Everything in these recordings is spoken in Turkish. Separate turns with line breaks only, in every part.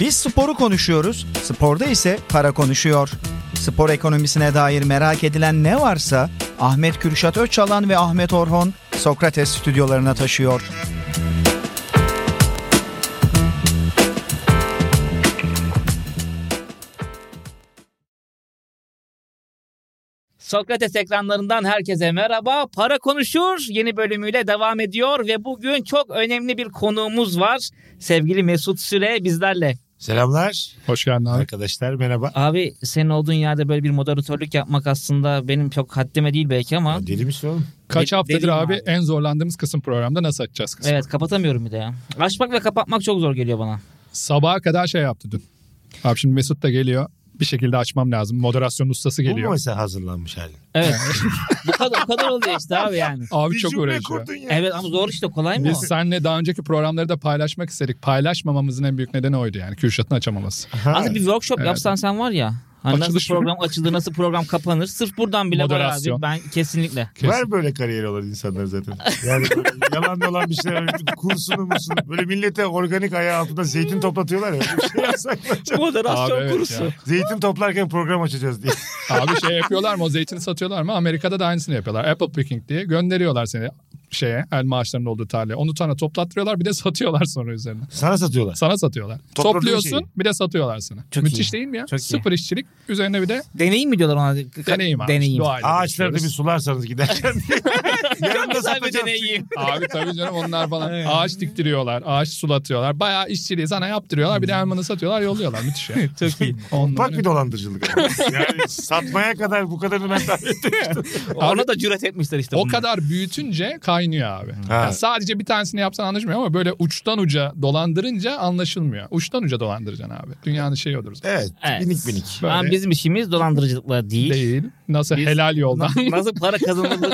Biz sporu konuşuyoruz, sporda ise para konuşuyor. Spor ekonomisine dair merak edilen ne varsa Ahmet Kürşat Öçalan ve Ahmet Orhon Sokrates stüdyolarına taşıyor.
Sokrates ekranlarından herkese merhaba. Para konuşur yeni bölümüyle devam ediyor ve bugün çok önemli bir konuğumuz var. Sevgili Mesut Süre bizlerle.
Selamlar
Hoş geldin abi.
arkadaşlar merhaba.
Abi senin olduğun yerde böyle bir moderatörlük yapmak aslında benim çok haddime değil belki ama
Deli misin oğlum?
Kaç
Deli-
haftadır
deliyim
abi,
abi.
en zorlandığımız kısım programda nasıl açacağız kısmı?
evet kapatamıyorum bir de ya. Açmak ve kapatmak çok zor geliyor bana.
Sabaha kadar şey yaptı dün. Abi şimdi Mesut da geliyor. Bir şekilde açmam lazım. Moderasyon ustası
Bu mu
geliyor.
mesela hazırlanmış halin?
Evet. bu kadar bu kadar oluyor işte abi yani.
Abi
Bir
çok
cümle
uğraşıyor.
kurdun ya.
Evet ama zor işte kolay mı?
Biz seninle daha önceki programları da paylaşmak istedik. Paylaşmamamızın en büyük nedeni oydu yani. Kürşat'ın açamaması.
Ha,
Aslında bir workshop
Evet.
yapsan sen var ya. Hani nasıl
Açılış mı?
program açılır, nasıl program kapanır. Sırf buradan bile var abi.
Moderasyon.
Ben kesinlikle.
Kesin.
Var böyle kariyer olan insanlar zaten. Yani böyle yalan dolan bir şeyler öğretip kursunu musunu. Böyle millete organik ayağı altında zeytin toplatıyorlar ya. Öyle bir şey yapsak mı acaba?
Moderasyon
Abi evet
kursu.
ya.
Zeytin toplarken program açacağız diye.
Abi şey yapıyorlar mı? O zeytini satıyorlar mı? Amerika'da da aynısını yapıyorlar. Apple picking diye gönderiyorlar seni şeye elma ağaçlarının olduğu tarlaya. Onu tane toplattırıyorlar bir de satıyorlar sonra üzerine.
Sana satıyorlar.
Sana satıyorlar.
Topladığı
Topluyorsun
şeyi.
bir de satıyorlar sana.
Çok
Müthiş
iyi.
değil mi ya?
Çok iyi.
Sıfır işçilik üzerine bir de
Deneyim mi diyorlar ona?
deneyim abi.
Deneyim.
Doğayla
Ağaçları da bir
uğraşıyoruz.
sularsanız giderken. Yarın da
Güzel bir
satacağız.
deneyim.
Abi tabii canım onlar falan ağaç diktiriyorlar, ağaç sulatıyorlar. Bayağı işçiliği sana yaptırıyorlar. Bir de elmanı satıyorlar, yolluyorlar. Müthiş ya.
Hmm. Çok iyi.
On
Bak
numara.
bir dolandırıcılık. ama. Yani satmaya kadar bu kadarını ben tahmin etmemiştim.
Ona da cüret etmişler işte.
O
bunlar.
kadar büyütünce kaynıyor abi.
Hmm.
Ha.
Yani sadece bir tanesini yapsan anlaşmıyor ama böyle uçtan uca dolandırınca anlaşılmıyor. Uçtan uca dolandıracaksın abi. Dünyanın şeyi odur zaten.
Evet,
Evet.
minik minik.
Böyle
Ama bizim işimiz dolandırıcılıkla değil.
değil. Nasıl
Biz-
helal yoldan.
Nasıl para kazanılır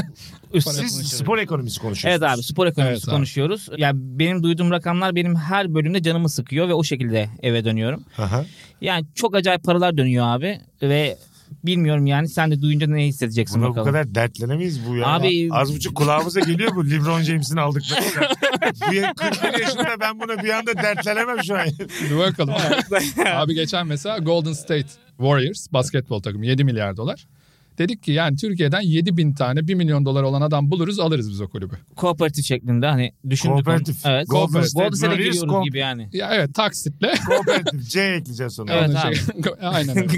üstüne
Siz
konuşuyoruz.
spor ekonomisi
Evet
konuşuyorsunuz.
abi spor ekonomisi
Evet abi.
konuşuyoruz. Ya benim duyduğum rakamlar benim her bölümde canımı sıkıyor ve o şekilde eve dönüyorum.
Aha.
Yani çok acayip paralar dönüyor abi ve bilmiyorum yani sen de duyunca ne hissedeceksin
Buna bu
bakalım.
kadar dertlenemeyiz bu ya.
Abi-
Az buçuk kulağımıza geliyor bu LeBron James'in aldıkları. şey. bu ya- 41 yaşında ben buna bir anda dertlenemem şu an.
Bir bakalım. Abi geçen mesela Golden State Warriors basketbol takımı 7 milyar dolar. Dedik ki yani Türkiye'den 7 bin tane 1 milyon dolar olan adam buluruz alırız biz o kulübü.
Kooperatif şeklinde hani düşündük. onu.
Kooperatif.
Evet.
Golden
Golden
State
State'e
Warriors
giriyoruz
komp-
gibi yani.
Ya evet taksitle.
Kooperatif C ekleyeceğiz sonra.
Evet.
Onun şey- Aynen öyle.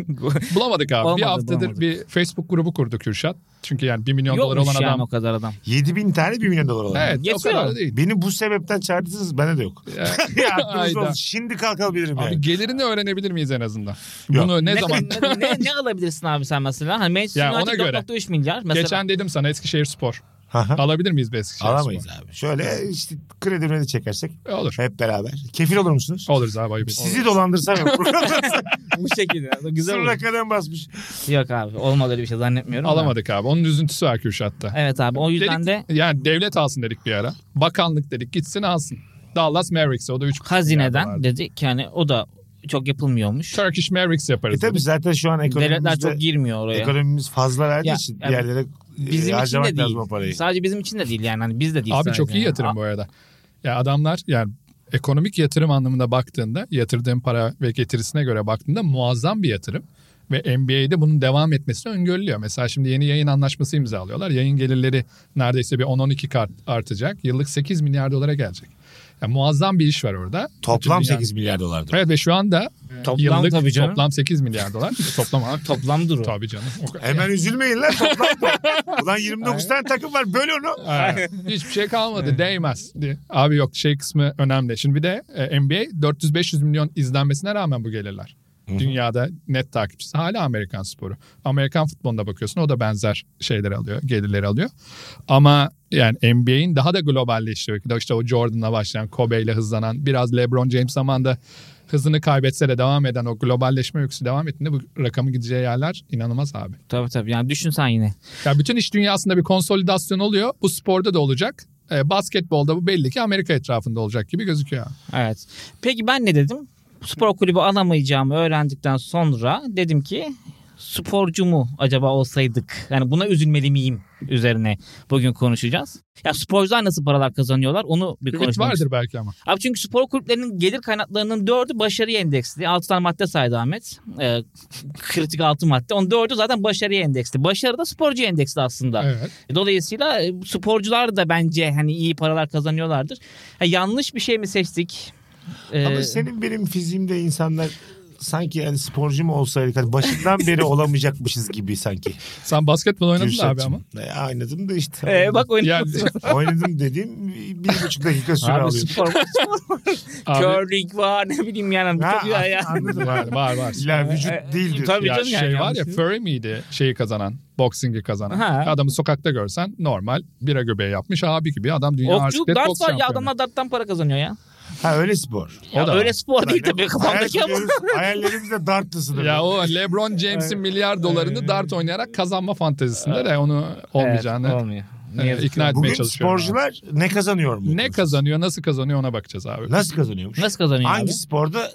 Bulamadık abi.
Olmadı,
bir haftadır
bulamadık.
bir Facebook grubu kurdu Kürşat. Çünkü yani 1 milyon dolar
Yokmuş
olan
yani
adam.
o kadar adam.
7 bin tane 1 milyon dolar olan.
Evet o
Yetiyor.
kadar da değil.
Beni bu sebepten çağırdınız bende de yok.
Ya,
ya aklınız
Hayda.
olsun. Şimdi kalkabilirim yani.
Abi gelirini öğrenebilir miyiz en azından?
Yok.
Bunu ne,
Ne,
zaman?
ne, ne, ne alabilirsin abi sen mesela? Hani Manchester
Ya ona
United
göre.
4.3 milyar mesela.
Geçen dedim sana Eskişehir Spor.
Aha.
Alabilir miyiz bir Eskişehir
Alamayız abi. Şöyle işte kredi de çekersek
Spor? E, Olur.
hep beraber. Kefil olur musunuz?
Oluruz abi ayıp.
Sizi dolandırsam yok.
bu şekilde. Güzel
Güzel
olur.
kadem basmış. E
Yok abi olmadı öyle bir şey zannetmiyorum. da.
Alamadık abi. Onun üzüntüsü var Kürşat'ta.
Evet abi o yüzden
Dedik-
de
Yani devlet alsın dedik bir ara. Bakanlık dedik gitsin alsın. Dallas Mavericks'e o da 3
hazineden dedik yani o da çok yapılmıyormuş.
Turkish Mavericks
E
yaparız.
tabii
dedik.
zaten şu an
Devletler
ekonomimizde,
çok girmiyor oraya.
ekonomimiz fazla verdiği
Ya,
için
yani
bir yerlere
bizim
e,
için
harcamak
de
lazım o
değil.
parayı.
Sadece bizim için de değil yani hani biz de değil.
Abi
sadece
çok iyi
yani.
yatırım bu arada. Ya adamlar yani ekonomik yatırım anlamında baktığında yatırdığın para ve getirisine göre baktığında muazzam bir yatırım. Ve NBA'de bunun devam etmesini öngörülüyor. Mesela şimdi yeni yayın anlaşması imzalıyorlar. Yayın gelirleri neredeyse bir 10-12 kart artacak. Yıllık 8 milyar dolara gelecek. Yani muazzam bir iş var orada.
Toplam
Bütün dünya-
8 milyar dolardır.
Evet ve şu anda
Toplam
yıllık
tabii canım.
toplam 8 milyar dolar. toplam abi.
Toplam durum.
Tabii canım. O kadar.
Hemen üzülmeyin lan toplam. bu. Ulan 29 tane takım var böl onu.
Aynen. Hiçbir şey kalmadı değmez diye. Abi yok şey kısmı önemli. Şimdi bir de e, NBA 400-500 milyon izlenmesine rağmen bu gelirler. Dünyada net takipçisi hala Amerikan sporu. Amerikan futboluna bakıyorsun o da benzer şeyleri alıyor, gelirleri alıyor. Ama yani NBA'in daha da globalleşiyor. İşte o Jordan'la başlayan, Kobe ile hızlanan, biraz LeBron James zamanında hızını kaybetse de devam eden o globalleşme öyküsü devam ettiğinde bu rakamın gideceği yerler inanılmaz abi.
Tabii tabii yani düşün sen yine.
Ya bütün iş dünyasında bir konsolidasyon oluyor. Bu sporda da olacak. E, basketbolda bu belli ki Amerika etrafında olacak gibi gözüküyor.
Evet. Peki ben ne dedim? Spor kulübü alamayacağımı öğrendikten sonra dedim ki sporcu mu acaba olsaydık? Yani buna üzülmeli miyim? üzerine bugün konuşacağız. Ya sporcular nasıl paralar kazanıyorlar onu bir
Limit
konuşalım.
vardır belki ama.
Abi çünkü spor kulüplerinin gelir kaynaklarının dördü başarıya endeksli. Altı tane madde saydı Ahmet. Ee, kritik altı madde. Onun dördü zaten başarıya endeksli. Başarı da sporcu endeksli aslında.
Evet.
Dolayısıyla e, sporcular da bence hani iyi paralar kazanıyorlardır. Ha, yanlış bir şey mi seçtik? Ee,
Ama şey- senin benim fiziğimde insanlar sanki yani sporcu mu olsaydık hani başından beri olamayacakmışız gibi sanki.
Sen basketbol oynadın da abi
Kürşat'cığım.
ama.
E, Oynadım da işte.
e, bak oyun-
Yani,
Oynadım dediğim bir buçuk dakika süre
Abi
alıyor.
spor,
abi,
curling var ne bileyim yani.
Ha,
Ha, ya.
anladım.
var var var.
La vücut
E, e,
değil diyor.
tabii.
ya
canım yani
şey var ya
yanlış.
Furry miydi şeyi kazanan? Boxing'i kazanan.
Ha.
Adamı sokakta görsen normal bira göbeği yapmış abi gibi adam dünya
Okçu,
arsiklet
dart var
boks
ya
şampiyonu.
adamlar darttan para kazanıyor ya.
Ha öyle spor.
O
Ya
da
öyle
var.
spor değil tabii kafamdaki ama.
Hayallerimiz, hayallerimiz de darttı sınırı.
Ya o LeBron James'in milyar dolarını dart oynayarak kazanma fantezisinde de onu olmayacağını
Evet, olmuyor. Ne
e,
yazık ki.
ikna etmeye
Bugün
çalışıyorum. abi.
sporcular ne kazanıyor mu?
ne kazanıyor, nasıl kazanıyor ona bakacağız abi.
Nasıl kazanıyormuş?
Nasıl kazanıyor abi?
Hangi sporda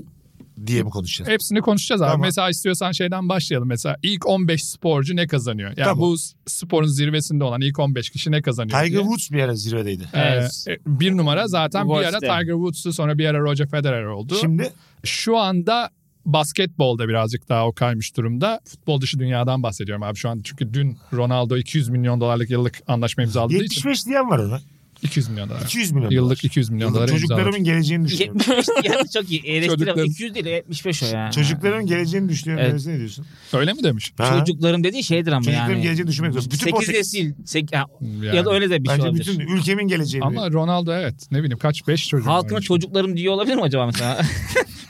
diye mi konuşacağız?
Hepsini konuşacağız abi.
Tamam.
Mesela istiyorsan şeyden başlayalım. Mesela ilk 15 sporcu ne kazanıyor? Yani
Tamam.
bu sporun zirvesinde olan ilk 15 kişi ne kazanıyor?
Tiger
diye.
Woods bir ara zirvedeydi.
Ee,
Evet.
e, bir numara zaten bir ara
Woods'te.
Tiger Woods'tu sonra bir ara Roger Federer oldu.
Şimdi
Şu anda basketbolda birazcık daha o kaymış durumda. Futbol dışı dünyadan bahsediyorum abi şu anda. Çünkü dün Ronaldo 200 milyon dolarlık yıllık anlaşma imzaladığı için
75 diyen var ona.
200 milyon dolar.
200 milyon.
Yıllık 200 milyon dolar imzaladı.
Çocuklarımın geleceğini düşünüyorum.
75 yani çok iyi. Eleştirelim.
Çocukların-
200 değil 75 o ya.
Çocuklarımın geleceğini düşünüyorum.
Evet.
Deniz, Ne diyorsun?
Öyle mi demiş?
Ha?
Çocuklarım dediği şeydir ama
Çocukların
yani.
geleceğini düşünmek zor. Bütün
8
Portekiz-
nesil. sek- ya,
Yani.
ya da öyle de bir şey
Bence
olabilir.
bütün ülkemin geleceğini.
Ama Ronaldo evet ne bileyim kaç 5 çocuk
Halkına
varmış.
çocuklarım diyor olabilir mi acaba mesela?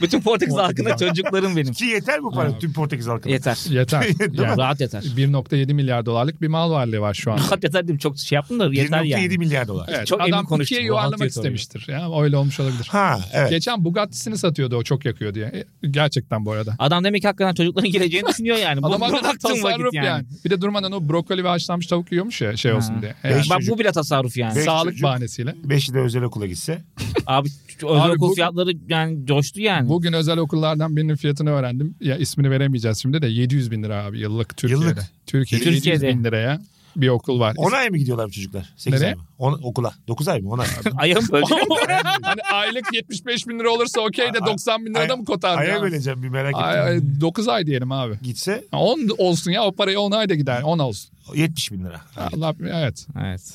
bütün Portekiz halkına çocuklarım benim.
Ki yeter bu para tüm Portekiz halkına.
Yeter.
Yeter. yani
Rahat yeter.
1.7 milyar dolarlık bir mal varlığı var şu an.
Rahat yeter dedim çok şey yaptım da yeter
1.7
yani.
milyar dolar.
Evet,
Çok emin
adam
konuştum.
ikiye
Rahat
yuvarlamak
yeter oluyor.
istemiştir. Ya, öyle olmuş olabilir.
Ha evet.
Geçen Bugatti'sini satıyordu o çok yakıyor diye. E, Gerçekten bu arada.
Adam demek ki hakikaten çocukların geleceğini düşünüyor yani. Bu,
Adam
bu
hakikaten
baktığın vakit
tasarruf
yani.
yani. Bir de durmadan o brokoli ve haşlanmış tavuk yiyormuş ya şey olsun
Ha.
diye.
Beş
Yani
Bak
çocuk.
bu bile tasarruf yani.
Beş
sağlık
çocuk.
bahanesiyle.
Beşi de özel okula gitse.
Abi şu özel
Abi
okul
bu-
fiyatları yani coştu yani.
Bugün özel okullardan birinin fiyatını öğrendim. Ya ismini veremeyeceğiz şimdi de 700 bin lira abi yıllık Türkiye'de.
Yıllık.
Türkiye'de,
Türkiye'de.
700 bin liraya bir okul var.
On ay mı gidiyorlar bu çocuklar? 8
Nereye?
ay mı? On- okula. 9 ay mı? 10 ay mı?
Ayağım böldü.
hani aylık 75 bin lira olursa okey de 90 bin lira da mı kotar?
Aya
ya?
böleceğim bir merak
Ay,
ettim.
9 ay diyelim abi.
Gitse
10 olsun ya o parayı 10 ayda gider. 10 olsun.
70 bin lira.
Allah evet.
evet.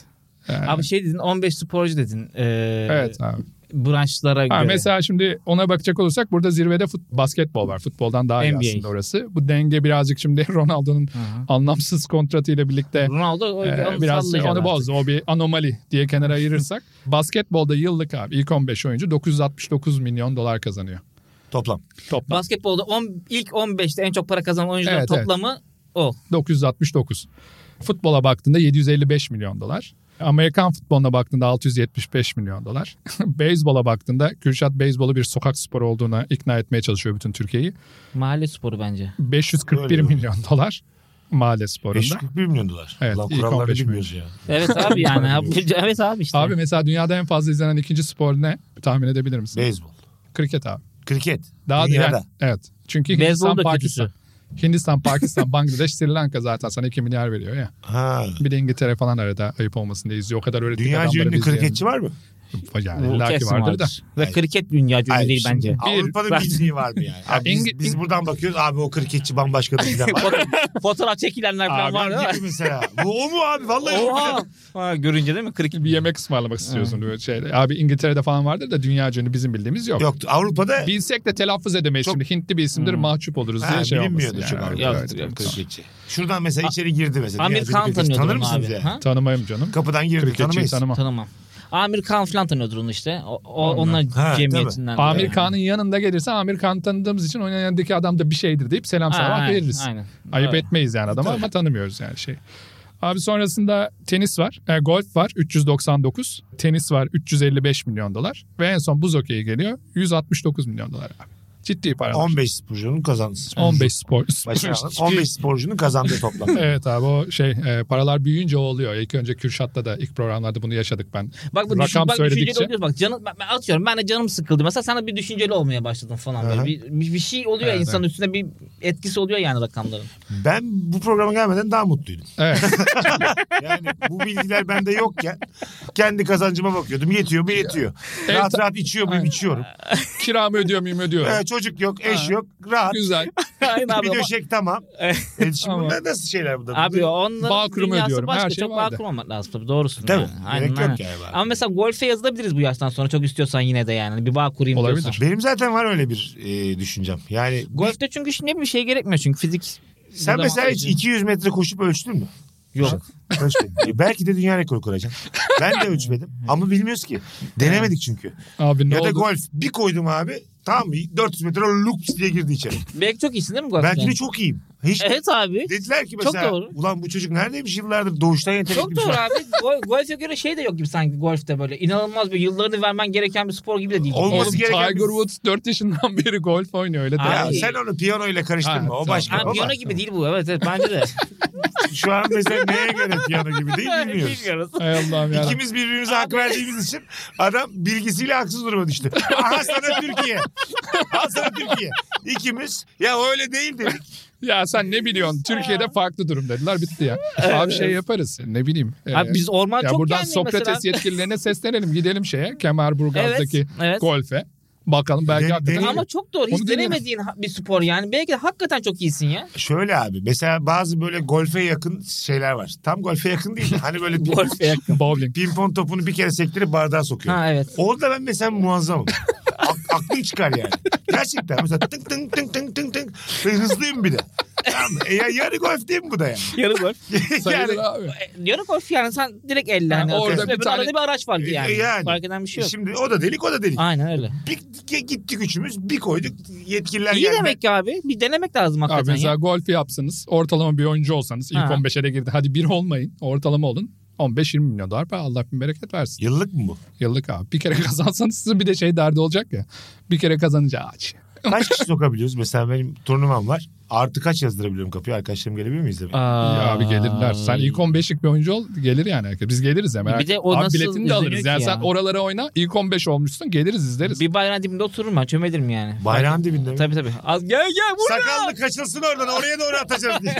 Yani,
Abi şey dedin 15 sporcu dedin. Ee,
evet abi.
Branşlara
Ha,
göre.
mesela şimdi ona bakacak olursak burada zirvede fut, basketbol var. Futboldan daha iyi
NBA.
aslında orası. Bu denge birazcık şimdi Ronaldo'nun
Hı.
anlamsız kontratıyla birlikte
Ronaldo o-
e,
o-
biraz
sallayacak
onu
artık.
bozdu. O bir anomali diye kenara ayırırsak. Basketbolda yıllık abi ilk 15 oyuncu 969 milyon dolar kazanıyor.
Toplam.
Toplam
Basketbolda on, ilk 15'te en çok para kazanan oyuncuların
Evet, evet.
toplamı o.
969. Futbola baktığında 755 milyon dolar. Amerikan futboluna baktığında 675 milyon dolar. Beyzbola baktığında Kürşat beyzbolu bir sokak sporu olduğuna ikna etmeye çalışıyor bütün Türkiye'yi.
Mahalle sporu bence.
541
Öyle mi?
milyon dolar mahalle sporunda.
541 milyon dolar.
Evet,
Lan
ilk
kuralları
15
bilmiyoruz ya.
Evet abi yani. abi, evet abi işte.
Abi mesela dünyada en fazla izlenen ikinci spor ne? Tahmin edebilir misin?
Beyzbol.
Kriket abi.
Kriket.
Daha
Dünyada.
yani- evet. Çünkü
Beyzbol
Hindistan,
da
Pakistan.
kötüsü.
Hindistan, Pakistan, Bangladeş, Sri Lanka zaten sana 2 milyar veriyor ya.
Ha.
Bir de İngiltere falan arada ayıp olmasın diye izliyor. O kadar öğrettik
Dünya
adamları
ünlü
biz yani.
kriketçi var mı?
Yani
Bu
illaki
kesin
vardır da.
Ve kriket dünya cümle
Hayır,
değil
şimdi
bence.
Avrupa'da
Ben-
bir izniği var mı yani? Abi biz,
İngi-
biz buradan bakıyoruz. Abi o kriketçi bambaşka bir filan var.
Foto- Fotoğraf çekilenler falan
Abi,
var değil mi?
Gibi mesela. Bu o mu abi? Vallahi o.
Oha. Ha, görünce değil mi? Kriket.
bir yemek ısmarlamak istiyorsun böyle şeyle. Abi İngiltere'de falan vardır da dünya ünlü bizim bildiğimiz yok.
Yoktu. Avrupa'da
Bilsek de telaffuz edemeyiz.
Çok-
Şimdi Hintli bir isimdir
Hmm.
mahcup oluruz diye
ha,
şey olmasın.
bilinmiyordu
yani.
çok Avrupa'da.
Yok,
Evet,
yok,
evet.
Kriketçi. Şuradan mesela içeri girdi mesela.
Amir
Dünya
Khan
ünlü kriketçi.
tanıyordur
Tanır
onu
mısınız
abi.
yani?
Ha?
Tanımayım canım.
Kapıdan girdi
Kriketçiyi
tanımayız.
tanımam.
Tanımam. Amir Khan falan tanıyordur onu işte. O, o
Ondan.
onlar
Ha,
cemiyetinden.
Amir
Yani.
Khan'ın yanında gelirse Amir Khan tanıdığımız için onun yanındaki adam da bir şeydir deyip selam
Ha,
selam
aynen,
veririz.
aynen.
Ayıp
Evet.
etmeyiz yani adama ama tanımıyoruz yani şey. Abi sonrasında tenis var, e, golf var 399, tenis var 355 milyon dolar ve en son buz hokeyi geliyor 169 milyon dolar abi. Ciddi paralar.
15 sporcunun kazandısı.
15 spor.
Başlayalım. 15 sporcunun kazandığı toplam.
Evet abi o şey e, paralar büyüyünce o oluyor. İlk önce Kürşat'ta da ilk programlarda bunu yaşadık ben.
Bak bu
Rakam
düşün, bak düşünceli
söyledikçe-
oluyoruz. Bak canım ben, ben atıyorum ben de canım sıkıldı. Mesela sana bir düşünceli olmaya başladım falan böyle.
Aha.
Bir, bir, bir şey oluyor
Evet,
insanın üstüne bir etkisi oluyor yani rakamların.
Ben bu programa gelmeden daha mutluydum.
Evet.
Yani bu bilgiler bende yokken kendi kazancıma bakıyordum. Yetiyor mu yetiyor.
Evet.
Rahat rahat içiyor muyum içiyorum.
Kiramı ödüyor muyum ödüyorum.
Ee, çocuk yok, eş
Ha.
yok. Rahat.
Güzel.
Aynen abi.
Bir döşek tamam. E şimdi
Ama-
bunlar nasıl şeyler burada?
Abi onların
Bağkur'umu
dünyası
ödüyorum.
başka.
Her şey
Çok
vardı.
bağ kurmamak lazım tabii doğrusun.
Tabii.
yani. Aynen,
Gerek
aynen.
yok yani. bari.
Ama mesela golfe yazılabiliriz bu yaştan sonra çok istiyorsan yine de yani Hani bir bağ kurayım
Olabilir.
diyorsan.
Benim zaten var öyle bir e, düşüncem. Yani
Golfte çünkü şimdi bir şey gerekmiyor çünkü fizik.
sen
Burada
mesela hiç
mahvedin.
200 metre koşup ölçtün mü?
Yok.
Ölçmedim. E, Belki de dünya rekoru kuracaksın. Ben de ölçmedim ama bilmiyoruz ki. Denemedik çünkü.
Abi ne
Ya da
oldu?
golf bir koydum abi tamam mı? 400 metre lups diye girdi içeri.
Belki çok iyisin değil mi golfte?
Ben yine çok iyiyim. Hiç
Evet abi.
Dediler ki
Çok
mesela
doğru.
ulan bu çocuk neredeymiş yıllardır doğuştan
Çok
yetenekli bir
doğru
şey.
abi. Gol, golfe göre şey de yok gibi sanki golfte böyle. inanılmaz bir yıllarını vermen gereken bir spor gibi de değil.
Olmaz.
Oğlum
olması gereken
Tiger
bir-
Woods 4 yaşından beri golf oynuyor öyle de.
Abi-
Ya sen onu piyano ile karıştırma.
Ha,
o
tamam.
başka.
Ha,
o
piyano
başka.
gibi değil bu. Evet evet bence de.
Şu an mesela neye göre piyano gibi değil bilmiyoruz.
Hay Allah'ım ya.
İkimiz birbirimize hak verdiğimiz için adam bilgisiyle haksız duruma düştü. Aha sana Türkiye. Aha sana Türkiye. İkimiz ya öyle değil dedik.
Ya sen ne biliyorsun? Türkiye'de farklı durum dediler bitti ya. Abi şey yaparız ne bileyim. Ee,
Abi biz orman
ya
çok
buradan
gelmiyor
Sokrates
mesela.
yetkililerine seslenelim. Gidelim şeye Kemerburgaz'daki
Evet, evet.
golfe. Bakalım belki
Den-
hakikaten.
deneyelim.
Ama çok doğru. Hiç
Onu deneyelim.
denemediğin ha- bir spor yani. Belki de hakikaten çok iyisin ya.
Şöyle abi mesela bazı böyle golfe yakın şeyler var. Tam golfe yakın değil. de Hani böyle bir
Golfe
şey
yakın.
Bowling.
pimpon topunu bir kere sektirip bardağa sokuyor.
Ha evet.
Orada ben mesela muazzamım. A- aklım çıkar yani. Gerçekten mesela tın tın tın tın tın tın. Ve hızlıyım bir de. Tamam. mı? E, ya, yarı golf değil mi bu da yani?
Yarı golf.
Sayılır
yani
abi.
E, Yarı golf yani sen direkt elle.
Ha,
Hani
orada
atıyorsun.
bir
Öbür
tane-
arada bir araç var yani.
E, yani.
Fark eden bir şey yok.
Şimdi o da delik o da delik.
Aynen öyle.
Bir, ge- gittik üçümüz bir koyduk yetkililer
İyi
geldi.
demek ki abi. Bir denemek lazım
Abi
hakikaten
mesela
ya.
golf yapsanız ortalama bir oyuncu olsanız ilk
Ha.
15'e de girdi. Hadi bir olmayın ortalama olun. 15-20 milyon dolar para Allah bin bereket versin.
Yıllık mı bu?
Yıllık abi. Bir kere kazansanız sizin bir de şey derdi olacak ya. Bir kere kazanınca aç.
Kaç kişi sokabiliyoruz? Mesela benim turnuvam var. Artı kaç yazdırabiliyorum kapıya? Arkadaşlarım gelebilir mi izlemeye?
Ya abi gelirler. Sen ilk 15'lik bir oyuncu ol gelir yani. herkes. Biz geliriz ya merak
Bir de
etme.
o
Abi
nasıl
biletini de
üzülüyor
alırız.
ki
Yani
ya?
sen oralara oyna ilk 15 olmuşsun geliriz izleriz.
Bir bayrağın dibinde otururum ben. Çömelirim yani.
Bayrağın dibinde mi?
Tabii tabii. Az gel gel vur.
Sakallı kaçılsın oradan oraya doğru atacağız diye.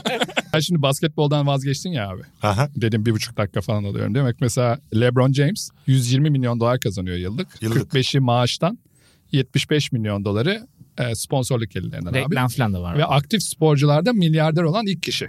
Ben şimdi basketboldan vazgeçtin ya abi.
Aha,
Dedim bir buçuk dakika falan alıyorum. Demek mesela LeBron James 120 milyon dolar kazanıyor yıllık.
Yıllık.
45'i maaştan 75 milyon doları e, sponsorluk gelirlerinden abi.
Reklam falan da var.
Ve aktif sporcularda milyarder olan ilk kişi.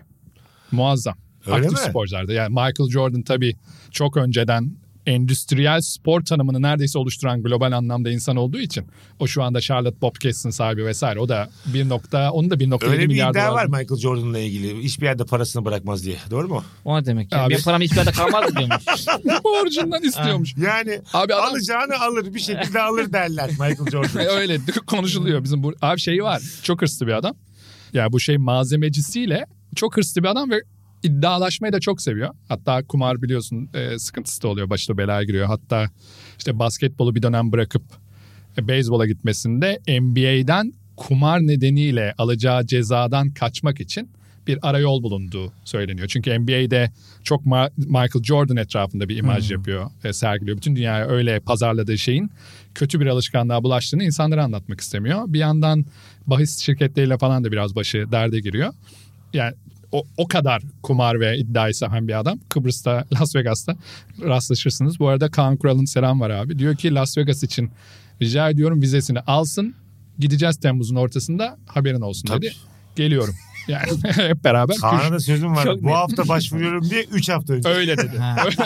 Muazzam.
Öyle
aktif
mi?
sporcularda. Yani Michael Jordan tabii çok önceden endüstriyel spor tanımını neredeyse oluşturan global anlamda insan olduğu için o şu anda Charlotte Bobcats'ın sahibi vesaire o da 1. nokta onun da 1.7
Öyle bir
milyar
iddia
dolar.
var Michael Jordan'la ilgili. Hiçbir yerde parasını bırakmaz diye. Doğru mu?
O ne demek ya?
Abi- Şey
Benim param hiçbir yerde kalmaz diyormuş.
Borcundan istiyormuş.
Yani
Abi adam
alacağını alır bir şekilde alır derler Michael Jordan.
öyle konuşuluyor bizim bu. Abi şey var. Çok hırslı bir adam. Ya bu şey malzemecisiyle çok hırslı bir adam ve iddialaşmayı da çok seviyor. Hatta kumar biliyorsun e, sıkıntısı da oluyor. Başta belaya giriyor. Hatta işte basketbolu bir dönem bırakıp e, beyzbola gitmesinde NBA'den kumar nedeniyle alacağı cezadan kaçmak için bir arayol bulunduğu söyleniyor. Çünkü NBA'de çok Ma- Michael Jordan etrafında bir imaj yapıyor, e, sergiliyor. Bütün dünyaya öyle pazarladığı şeyin kötü bir alışkanlığa bulaştığını insanlara anlatmak istemiyor. Bir yandan bahis şirketleriyle falan da biraz başı derde giriyor. Yani o, o kadar kumar ve iddiayı seven bir adam. Kıbrıs'ta, Las Vegas'ta rastlaşırsınız. Bu arada Kaan Kural'ın selam var abi. Diyor ki Las Vegas için rica ediyorum vizesini alsın. Gideceğiz Temmuz'un ortasında haberin olsun
Tabii.
dedi. Geliyorum. Yani hep beraber.
Kaan'a da sözüm var.
Çok
Bu
net.
hafta başvuruyorum diye 3 hafta önce.
Öyle dedi.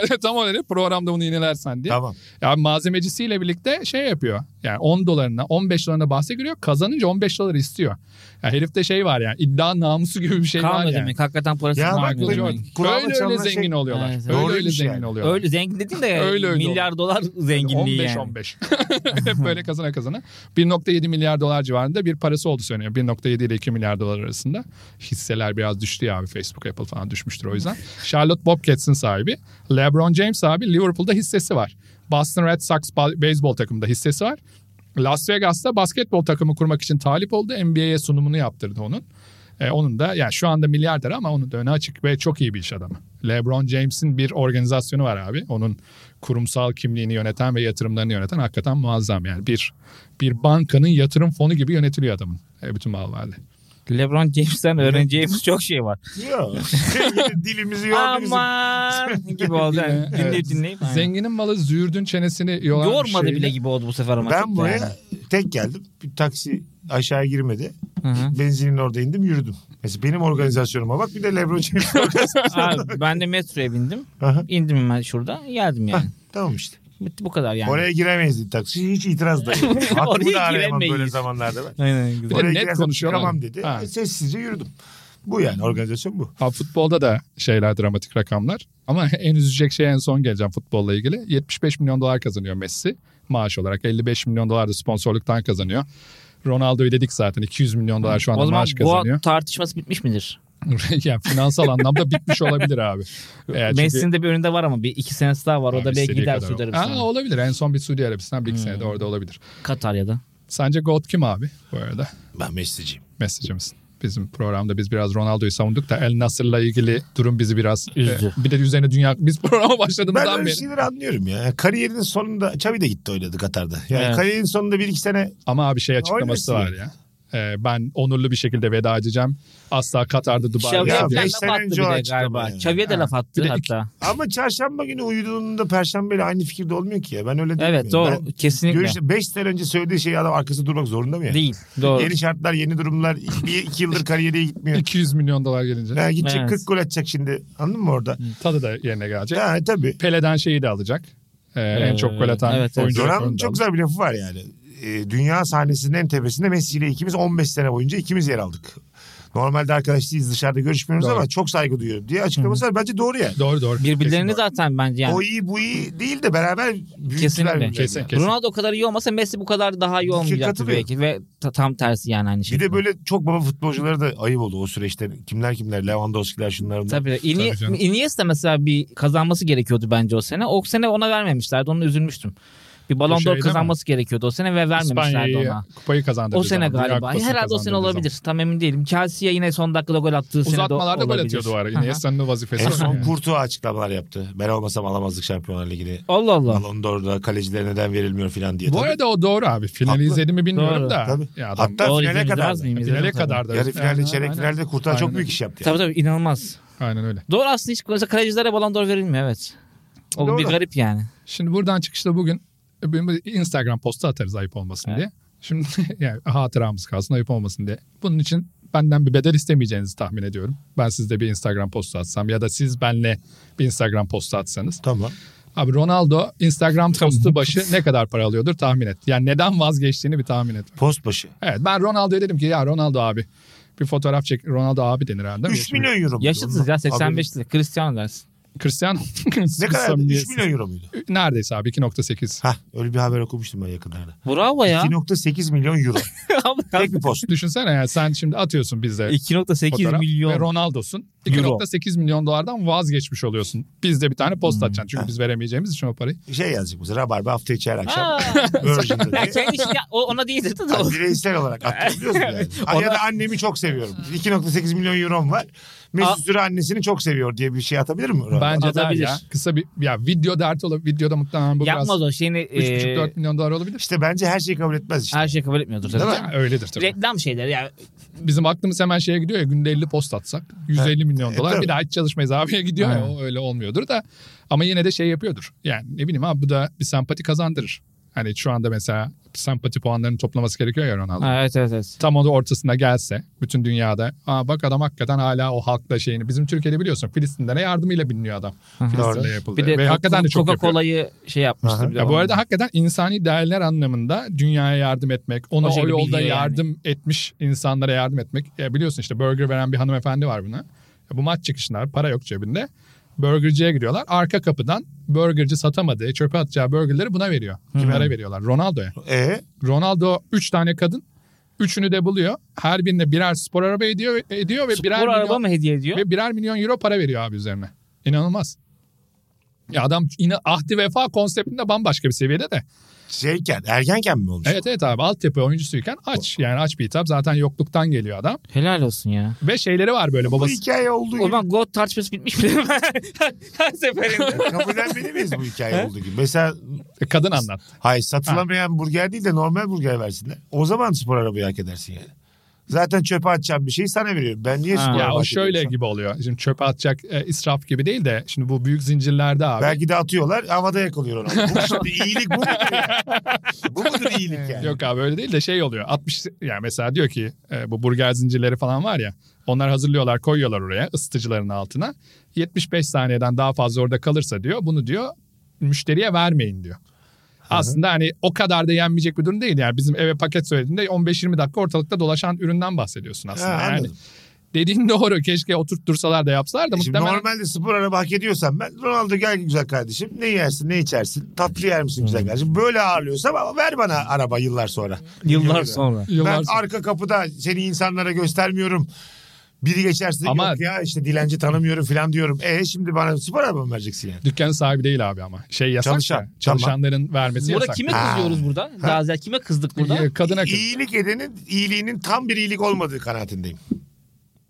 Öyle, tam öyle dedi. Programda bunu yinelersen diye.
Tamam.
Ya malzemecisiyle birlikte şey yapıyor. Yani 10 dolarına 15 dolarına bahse giriyor. Kazanınca 15 doları istiyor. Ya herifte şey var yani iddia namusu gibi bir şey var
Kalmıyor
yani.
demek. Hakikaten parası
Ya bak
kalmıyor
bu-
demek.
Kulağıma
öyle öyle
çalınan şey-
zengin oluyorlar.
Evet,
öyle öyle
doğruymuş
zengin
yani.
oluyorlar.
Öyle zengin dedin de
Öyle öyle
milyar dolar zenginliği
15
yani.
15. Hep böyle kazana kazana. 1.7 milyar dolar civarında bir parası oldu söyleniyor. 1.7 ile 2 milyar dolar arasında. Hisseler biraz düştü ya abi. Facebook, Apple falan düşmüştür o yüzden. Charlotte Bobcats'ın sahibi. LeBron James abi Liverpool'da hissesi var. Boston Red Sox ba- beyzbol takımında hissesi var. Las Vegas'ta basketbol takımı kurmak için talip oldu. NBA'ye sunumunu yaptırdı onun. E, onun da yani şu anda milyarder ama onun da öne açık ve çok iyi bir iş adamı. LeBron James'in bir organizasyonu var abi. Onun kurumsal kimliğini yöneten ve yatırımlarını yöneten hakikaten muazzam yani. Bir bir bankanın yatırım fonu gibi yönetiliyor adamın. E, bütün mal varlığı.
LeBron James'ten öğreneceğimiz çok şey var.
Yok. Dilimizi yordu bizim.
Aman gibi oldu. Yani.
Evet.
Dinleyip dinleyip. aynen.
Zenginin malı züğürdün çenesini yoran bir
Yormadı
şeyle-
bile gibi oldu bu sefer ama.
Ben
çok yani.
buraya tek geldim. Bir taksi aşağı girmedi.
Hı hı.
Benzinin orada indim yürüdüm. Mesela benim organizasyonuma bak bir de Lebron James organizasyonuna bak.
Abi, ben de metroya bindim.
Aha,
İndim hemen şurada. Geldim yani.
tamam işte.
Bitti bu kadar yani.
Oraya giremeyiz dedi taksi. Hiç itiraz da yok. Aklımı da
Oraya
arayamam böyle
giremeyiz.
zamanlarda ben.
Aynen, güzel.
de net
girersem
konuşuyor
Çıkamam
adam.
dedi.
Ha.
E, Sessizce yürüdüm. Bu yani organizasyon bu.
Ha, futbolda da şeyler dramatik rakamlar. Ama en üzecek şey en son geleceğim futbolla ilgili. 75 milyon dolar kazanıyor Messi maaş olarak. 55 milyon dolar da sponsorluktan kazanıyor. Ronaldo'yu dedik zaten 200 milyon dolar şu anda
o zaman
maaş
bu
kazanıyor.
tartışması bitmiş midir?
yani finansal anlamda bitmiş olabilir abi. Eğer çünkü-
Messi'nin de bir önünde var ama bir iki senesi daha var.
Abi
o da belki
istediği
gider Hmm.
kadar
Suudi
olur. Aa,
Arabistan'a.
olabilir. En son bir Suudi Arabistan bir iki senede orada olabilir.
Katar ya da.
Sence God kim abi bu arada?
Ben mesleciyim.
mesajımız. Bizim programda biz biraz Ronaldo'yu savunduk da El Nasır'la ilgili durum bizi biraz
Üzdü.
e, bir de üzerine dünya biz programa başladığımızdan
Ben öyle
beri.
şeyleri anlıyorum ya. Kariyerinin sonunda Çavi de gitti oynadı Katar'da. Yani
Evet.
kariyerinin sonunda bir iki sene
Ama abi şey açıklaması var
Oynarsın.
ya. E, ben onurlu bir şekilde veda edeceğim. Asla Katar'da Dubai'de.
Xavi'ye
Ya
falan
beş
laf
sene
attı
önce
bir
o
de
açıklama
galiba.
yani.
Çavi'ye de
Ha.
laf
Bir
attı
de
hatta.
ama çarşamba günü uyuduğunda perşembeyle aynı fikirde olmuyor ki ya. Ben öyle değil
Evet doğru. Kesinlikle.
5 sene önce söylediği şeyi adam arkası durmak zorunda mı ya?
Değil. Doğru.
Yeni şartlar, yeni durumlar. Bir iki yıldır kariyere gitmiyor.
200 milyon dolar gelince
Ha, gidecek
Evet.
40 gol atacak şimdi. Anladın mı orada?
tadı da yerine gelecek.
Ha, tabii.
Pele'den şeyi de alacak. E, en
Ee,
çok gol atan
evet, evet.
oyuncu.
Ronaldo'nun
rekorunu da
çok
alacak.
güzel bir lafı var yani. Ee, dünya sahnesinin en tepesinde Messi ile ikimiz 15 sene boyunca ikimiz yer aldık. Normalde arkadaş değiliz dışarıda görüşmüyoruz
Doğru.
ama çok saygı duyuyorum diye açıklaması var. Bence doğru yani.
Doğru doğru.
Birbirlerini
Kesin doğru.
zaten bence yani.
O iyi bu iyi değil de beraber büyüttüler.
Kesinlikle.
birbirlerini.
Kesin,
Yani.
kesin.
Ronaldo o kadar iyi olmasa Messi bu kadar daha iyi
Ki
olmayacaktı
şey katılıyorum.
belki ve ta- tam tersi yani aynı şey.
Bir de böyle çok baba futbolculara da ayıp oldu o süreçte. Kimler kimler Lewandowski'ler şunlar bunlar.
Tabii.
Tabii canım.
İni, Iniesta mesela bir kazanması gerekiyordu bence o sene. O sene ona vermemişlerdi. Onu üzülmüştüm. Bir Ballon
şeyde
d'Or
mi?
kazanması gerekiyordu o sene ve vermemişlerdi
İspanya'yı
ona.
kupayı kazandırdı.
O sene galiba. Herhalde o sene olabilir. Tam emin değilim. Chelsea yine son dakikada gol attığı sene de
Uzatmalarda gol
olabilir.
atıyordu o ara.
Aha.
Iniesta'nın o vazifesi.
En
o
son
yani.
Kurtuğa açıklamalar yaptı. Ben olmasam alamazdık Şampiyonlar Ligi'ni.
Allah Allah.
Ballon d'Or'da kalecilere neden verilmiyor falan diye.
Bu
Tabii.
arada o doğru abi. Finali
Haklı.
izledim mi bilmiyorum
Doğru.
da.
Tabii.
Ya adam
Hatta
Doğru,
finale
izlemez
kadar. da.
miyim? İzledim
finale
tabii.
kadar da.
Yarı finalde,
Aynen,
çeyrek
aynen.
finalde Kurtuğa çok
Aynen.
büyük iş yaptı.
Tabii
yani.
tabii inanılmaz.
Aynen öyle.
Doğru aslında hiç mesela kalecilere Ballon d'Or verilmiyor evet. O
Doğru.
bir garip yani.
Şimdi buradan çıkışta bugün benim bir Instagram postu atarız ayıp olmasın
Evet.
diye. Şimdi yani hatıramız kalsın ayıp olmasın diye. Bunun için benden bir bedel istemeyeceğinizi tahmin ediyorum. Ben sizde bir Instagram postu atsam ya da siz benle bir Instagram postu atsanız.
Tamam.
Abi Ronaldo Instagram postu başı ne kadar para alıyordur tahmin et. Yani neden vazgeçtiğini bir tahmin et.
Post başı.
Evet ben Ronaldo'ya dedim ki ya Ronaldo abi bir fotoğraf çek. Ronaldo abi denir herhalde.
3 milyon euro. muydu?
Yaşıtız ya
Ondan-
85'li. Cristiano dersin.
Cristiano.
Ne kadar? 3 milyon euro muydu?
Neredeyse abi 2.8.
Hah öyle bir haber okumuştum ben yakınlarda.
Bravo ya.
2.8 milyon euro. Tek bir post.
Düşünsene ya sen şimdi atıyorsun bize
2.8
fotoğraf ve
milyon.
Ronaldo'sun.
Euro.
2.8 milyon dolardan vazgeçmiş oluyorsun. Biz de bir tane post
Hmm.
atacaksın çünkü biz veremeyeceğimiz için o parayı.
Şey yazacak bize. Rabarba hafta içi her akşam.
Aa.
Virgin'de
Ya
diye.
kendi işini o- ona değil dedi de
Yani
o.
bireysel olarak atabiliyorsun yani. Ay, Ya da annemi çok seviyorum. 2.8 milyon eurom var.
Aa.
Mesut Süre annesini çok seviyor diye bir şey atabilir mi? Ronaldo?
Bence der
Atabilir.
ya. Kısa bir ya video dert olabilir. Videoda muhtemelen bu
Yapmaz
biraz
o şeyini.
3.5-4
e,
milyon dolar olabilir.
İşte bence her şeyi kabul etmez işte.
her şey kabul etmiyordur tabii.
Ya, öyledir tabii.
Reklam şeyleri yani.
Bizim aklımız hemen şeye gidiyor ya günde 50 post atsak 150 milyon
E,
dolar
tabii.
bir daha hiç çalışmayız abiye gidiyor ya
Aynen.
o öyle olmuyordur da ama yine de şey yapıyordur. Yani ne bileyim abi bu da bir sempati kazandırır. Hani şu anda mesela sempati puanlarını toplaması gerekiyor ya Ronaldo.
Ha, evet evet evet.
Tam onun ortasına gelse bütün dünyada Aa, bak adam hakikaten hala o halkla şeyini bizim Türkiye'de biliyorsun Filistinlere yardımıyla biliniyor adam. Filistin'de yapıldı.
Bir de
Ve hakikaten de çok yapıyor.
Coca-Cola'yı şey yapmıştı.
Aha.
bir de
Ya bu
ona.
arada hakikaten insani değerler anlamında dünyaya yardım etmek, ona
O
o,
şekilde
yolda
biliyor yani.
yardım etmiş insanlara yardım etmek. Ya biliyorsun işte burger veren bir hanımefendi var buna. Ya bu maç çıkışında para yok cebinde. Burgerciye giriyorlar. Arka kapıdan burgerci satamadığı, çöpe atacağı burgerleri buna veriyor. Kimlere veriyorlar? Ronaldo'ya.
E
Ronaldo 3 tane kadın. Üçünü de buluyor. Her birine birer spor araba ediyor, ediyor ve
Spor
birer
araba
milyon,
mı hediye ediyor?
ve birer milyon euro para veriyor abi üzerine. İnanılmaz. Ya adam yine ahdi vefa konseptinde bambaşka bir seviyede de.
şeyken ergenken mi olmuş?
Evet evet abi altyapı oyuncusuyken aç. Yani aç bir hitap. Zaten yokluktan geliyor adam.
Helal olsun ya.
Ve şeyleri var böyle
Bu
babası.
hikaye olduğu
O
gibi.
zaman God tartışması bitmiş bile. Her seferinde.
Kabullenmeli miyiz bu hikaye olduğu gibi? Mesela
Kadın anlat.
hayır satılamayan burger değil de normal burger versinler. O zaman spor arabayı hak edersin yani. Zaten çöpe atacağım bir şeyi sana veriyorum. Ben niye
Ha.
spor
Ya
araba
Ya o
hak
şöyle
ediyorum?
gibi oluyor. Şimdi çöpe atacak e, israf gibi değil de şimdi bu büyük zincirlerde abi.
Belki de atıyorlar havada yakalıyor onu. Bu şimdi iyilik bu mudur ya? Bu mudur iyilik yani?
Yok abi öyle değil de şey oluyor. 60 yani mesela diyor ki e, bu burger zincirleri falan var ya. Onlar hazırlıyorlar koyuyorlar oraya ısıtıcıların altına. 75 saniyeden daha fazla orada kalırsa diyor bunu diyor müşteriye vermeyin diyor. Aslında hani o kadar da yenmeyecek bir durum değil yani bizim eve paket söylediğinde 15-20 dakika ortalıkta dolaşan üründen bahsediyorsun
Ha,
aslında. yani
anladım. E
dediğin doğru keşke oturtursalar da yapsalar da
Şimdi
muhtemelen
normalde spor araba hak ediyorsan ben Ronaldo gel güzel kardeşim ne yersin ne içersin tatlı yer misin
Hmm.
güzel kardeşim böyle ağırlıyorsam ama ver bana araba yıllar sonra.
Yıllar sonra.
yıllar
Ben
sonra-
arka kapıda seni insanlara göstermiyorum. Biri geçerse
Ama-
yok ya işte dilenci tanımıyorum falan diyorum. E şimdi bana spor araba mı vereceksin yani?
Dükkanın sahibi değil abi ama. Şey yasak.
Çalışan.
ya. Çalışanların vermesi
Burada
yasak.
kime
Ha.
kızıyoruz buradan? Daha ziyade kime kızdık burada?
Ya, Kadına kız.
İyilik edenin iyiliğinin tam bir iyilik olmadığı kanaatindeyim.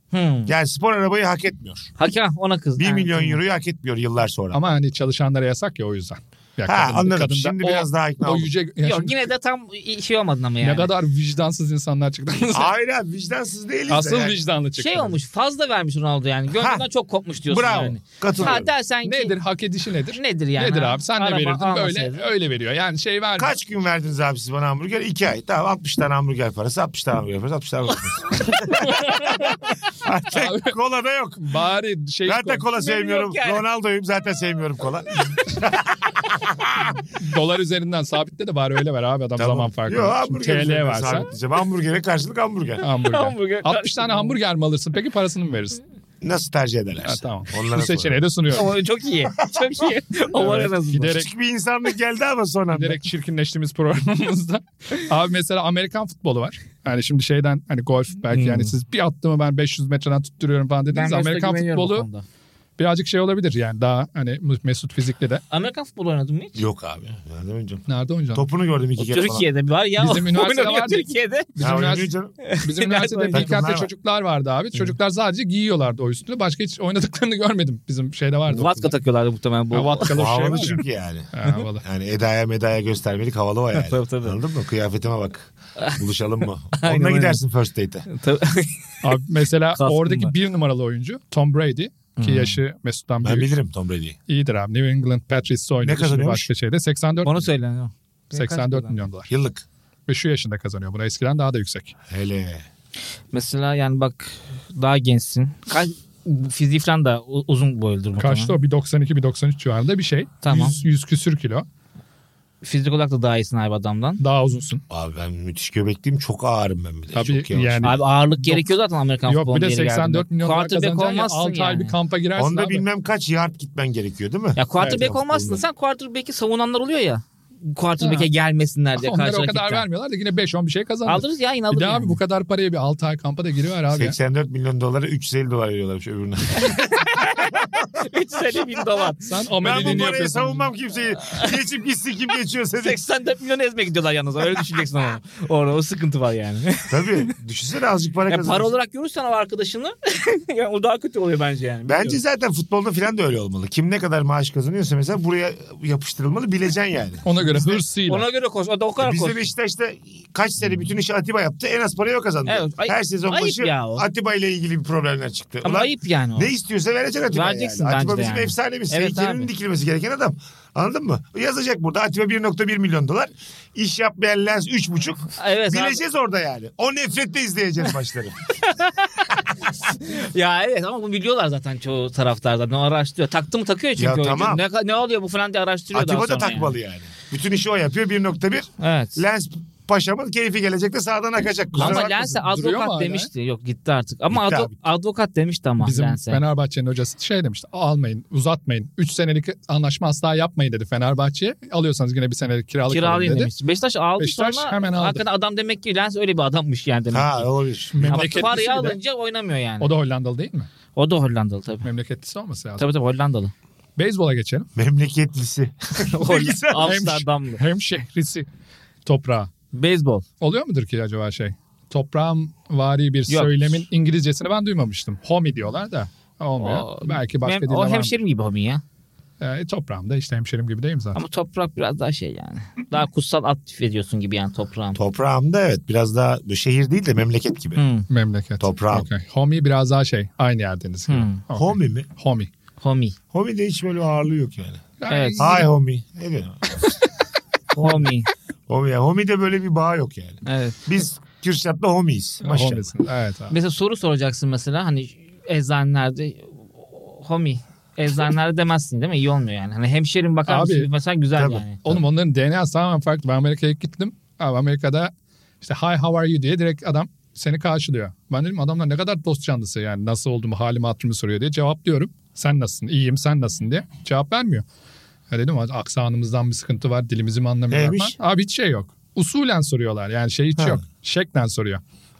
Hmm.
Yani spor arabayı hak etmiyor.
Hakem ona kızdı.
1
Ha,
milyon
tamam.
euroyu hak etmiyor yıllar sonra.
Ama hani çalışanlara yasak ya o yüzden. Ya
ha
kadın-
anladım.
kadın da
Şimdi
o-
biraz daha ikna
O
oldum.
yüce... ya
Yok
şimdi
yine de tam şey olmadın ama
Ne
yani.
kadar vicdansız insanlar çıktı.
Hayır abi vicdansız değiliz. de
Asıl
yani.
vicdanlı çıktı.
Şey olmuş fazla vermiş Ronaldo yani. Gönlünden
Ha.
çok kopmuş diyorsun
Bravo.
yani.
Katılıyorum.
Ha dersen ki
Nedir? Hak edişi nedir?
nedir yani?
Nedir
Ha,
abi? Sen ne
araba
verirdin?
almasaydın.
Böyle öyle veriyor. Yani şey vermiyor.
Kaç gün verdiniz abi siz bana hamburger? İki ay. Tamam 60 tane hamburger parası, 60 tane hamburger parası, 60 tane hamburger parası. Artık
Abi.
kola da yok.
Bari şey
Zaten
koy.
kola sevmiyorum.
yok yani.
Ronaldo'yum zaten sevmiyorum kola.
dolar üzerinden sabitle de bari öyle ver abi adam zaman farkı.
Yok
var. Şimdi
hamburger
TL
üzerinden
versen
sabitleyeceğim. Hamburgere karşılık hamburger.
hamburger.
Hamburger.
60 tane hamburger mi alırsın? Peki parasını mı verirsin?
Nasıl tercih ederler?
Ha, tamam.
Onlara
Bu seçeneği de sunuyorum.
O çok iyi. Çok iyi. O var en
Evet,
azından.
giderek
Küçük bir insanlık geldi ama son anda.
Direkt çirkinleştiğimiz programımızda. Abi mesela Amerikan futbolu var. Yani şimdi şeyden hani golf belki
Hmm.
yani siz bir attığımı ben 500 metreden tutturuyorum falan dediniz.
Mesut'a
Amerikan
güveniyorum bu
futbolu
konuda.
birazcık şey olabilir yani daha hani Mesut fizikli de.
Amerikan futbolu oynadın mı hiç?
Yok abi. Nereden oynayacağım?
Nerede oynayacaksın?
Topunu gördüm
O
iki kere falan.
Türkiye'de var ya.
Bizim üniversitede
Oynanıyor
vardı.
Türkiye'de.
Bizim,
Ya
ünivers-
oynuyor canım.
bizim üniversitede
Nerede
oynuyor?
İKT çocuklar vardı abi. Çocuklar sadece giyiyorlardı o üstünü. Başka hiç oynadıklarını görmedim. Bizim şeyde vardı.
Vatka takıyorlardı muhtemelen bu.
Ha, Vatkalı bir şey
Havalı
var ya.
çünkü yani.
Ha, havalı.
Yani Eda'ya medaya göstermelik havalı o yani.
Tabii, tabii.
Anladın mı? Kıyafetime bak. Buluşalım mı?
Aynen,
Onunla
aynen.
gidersin first date'e.
Tabii.
Abi mesela
Kaskın
oradaki
var.
bir numaralı oyuncu Tom Brady ki
Hmm.
yaşı Mesut'tan
Ben
büyük.
bilirim Tom Brady'yi.
İyidir abi. New England Patriots oynadı. Şimdi
kazanıyormuş?
Başka şeyde 84
Onu söyle. ya.
84 milyon dolar.
Yıllık.
Ve şu yaşında kazanıyor. Buna eskiden daha da yüksek.
Hele.
Mesela yani bak daha gençsin. Kaç fiziği falan da u- uzun boyludur muhtemelen.
Kaçtı o? 1.92 1.93 civarında bir şey.
Tamam.
100, 100 küsür kilo.
Fizik olarak da daha iyisin abi adamdan.
Daha uzunsun.
Abi ben müthiş göbekliyim. Çok ağırım ben bir de.
Tabii
Çok yavaş.
yani.
Abi ağırlık gerekiyor zaten Amerikan
Hani Yok
futbolunun
bir de
yeri geldiğinde.
84 milyon dolar
Quarterback
kazanacaksın ya.
olmazsın
6 ay
yani.
bir kampa girersin
Onda
abi.
bilmem kaç yard gitmen gerekiyor değil mi?
Ya quarterback
Evet,
olmazsın.
futbolda.
Sen quarterback'i savunanlar oluyor ya. Quarterback'e
Ha.
gelmesinler diye
Onlara
karşı
o kadar
rakipten.
vermiyorlar da yine 5-10 bir şey kazandı.
Alırız ya yine
Bir
alırız.
de
yani.
abi bu kadar paraya bir 6 ay kampa da giriver abi. ya.
84 milyon dolara 350 dolar veriyorlarmış öbürüne.
350 bin dolar.
Sen
ben
ameliyini
bu parayı
yapıyorsun.
savunmam kimseyi. Geçip gitsin kim geçiyorsa. de.
84 milyon ezmek gidiyorlar yalnız. Öyle düşüneceksin ama. Orada o sıkıntı var yani.
Tabii. Düşünsene azıcık para
Ya
kazanırsın.
para olarak görürsen o arkadaşını yani o daha kötü oluyor bence yani.
Bence zaten futbolda falan da öyle olmalı. Kim ne kadar maaş kazanıyorsa mesela buraya yapıştırılmalı bileceksin yani.
Ona göre hırsıyla.
Ona göre koş. O da o kadar koş.
Bizde Beşiktaş'ta kaç sene bütün işi Atiba yaptı. En az parayı o kazandı.
Evet, ay-
Her sezon
ayıp
başı
ya o.
Atiba ile ilgili bir problemler çıktı.
Ama
Ulan
ayıp yani o.
Ne istiyorsa verecek Atiba
Vereceksin
yani.
bence
Atiba
de
bizim
yani.
efsanemiz.
Evet
Heykelinin
abi.
dikilmesi gereken adam. Anladın mı? Yazacak burada Atiba 1.1 milyon dolar. İş yapmayan lens 3.5.
Evet abi.
Bileceğiz orada yani. O nefretle izleyeceğiz maçları.
Ya evet ama bunu biliyorlar zaten çoğu taraftardan. Ne araştırıyor. Taktı mı takıyor çünkü.
Ya
oyuncu.
tamam.
Ne, ka- ne oluyor bu falan diye araştırıyor daha
Atiba da
sonra
takmalı yani. Bütün işi o yapıyor 1.1.
yani. Evet.
Lens paşamın keyfi gelecek de sağdan akacak. Kusura
ama Lens'e
bakmasın.
Duruyor mu
advokat
hala?
demişti. Yok gitti artık. Ama
Gitti
advo-
abi.
advokat demişti ama
Bizim
Lens'e.
Fenerbahçe'nin hocası şey demişti. Almayın, uzatmayın. 3 senelik anlaşma asla yapmayın dedi Fenerbahçe'ye. Alıyorsanız yine bir senelik kiralık alın
Kiralayın
dedi.
demişti. Beşiktaş aldı
Beşiktaş
sonra
hemen aldı.
hakikaten adam demek ki Lens öyle bir adammış yani demek
Ha
ki.
olabilir.
Ama
Memleketlisi
parayı
bir de.
alınca oynamıyor yani. O da,
O da Hollandalı değil mi?
Hollandalı tabii.
Memleketlisi olması lazım.
Tabii tabii Hollandalı.
Beyzbola geçelim.
Memleketlisi.
Holl- Amsterdamlı.
Hem şehrisi toprağa.
Beyzbol.
Oluyor mudur ki acaba şey? Toprağım vari bir
Yok.
söylemin İngilizcesini ben duymamıştım. Homie diyorlar da. Olmuyor.
O-
Belki başka
Mem-
dilde
O
var.
hemşerim gibi homin ya.
Ee, toprağım da işte hemşerim gibi değil mi zaten?
Ama toprak biraz daha şey yani. Daha kutsal aktif ediyorsun gibi yani toprağın.
Toprağımda evet biraz daha şehir değil de memleket gibi.
Hmm,
Memleket.
Toprağım.
Okey. Homie biraz daha şey. Aynı yerdeniz gibi.
hmm.
Okey.
Homie mi?
Homie.
Homi.
Homie de hiç böyle ağırlığı yok yani.
Evet.
Hi homie. Ne diyor?
Homi.
Homie, ya. homie de böyle bir bağ yok yani.
evet.
Biz Kürşat'la homies. Maşallah.
Homie'sin. Evet abi.
Mesela soru soracaksın mesela hani eczanelerde homi eczanelerde demezsin değil mi? İyi olmuyor yani. Hani hemşerim bakar
Abi,
mısın? Mesela güzel
tabii.
yani.
Oğlum onların DNA'sı tamamen farklı. Ben Amerika'ya gittim. Abi Amerika'da işte hi how are you diye direkt adam seni karşılıyor. Ben dedim adamlar ne kadar dost canlısı yani nasıl olduğumu halimi hatırımı soruyor diye cevaplıyorum. Sen nasılsın iyiyim sen nasılsın diye cevap vermiyor. Ya dedim aksanımızdan bir sıkıntı var dilimizi mi anlamıyorlar
Neymiş?
falan. Abi hiç şey yok. Usulen soruyorlar yani şey hiç
Ha.
yok. Şeklen soruyor.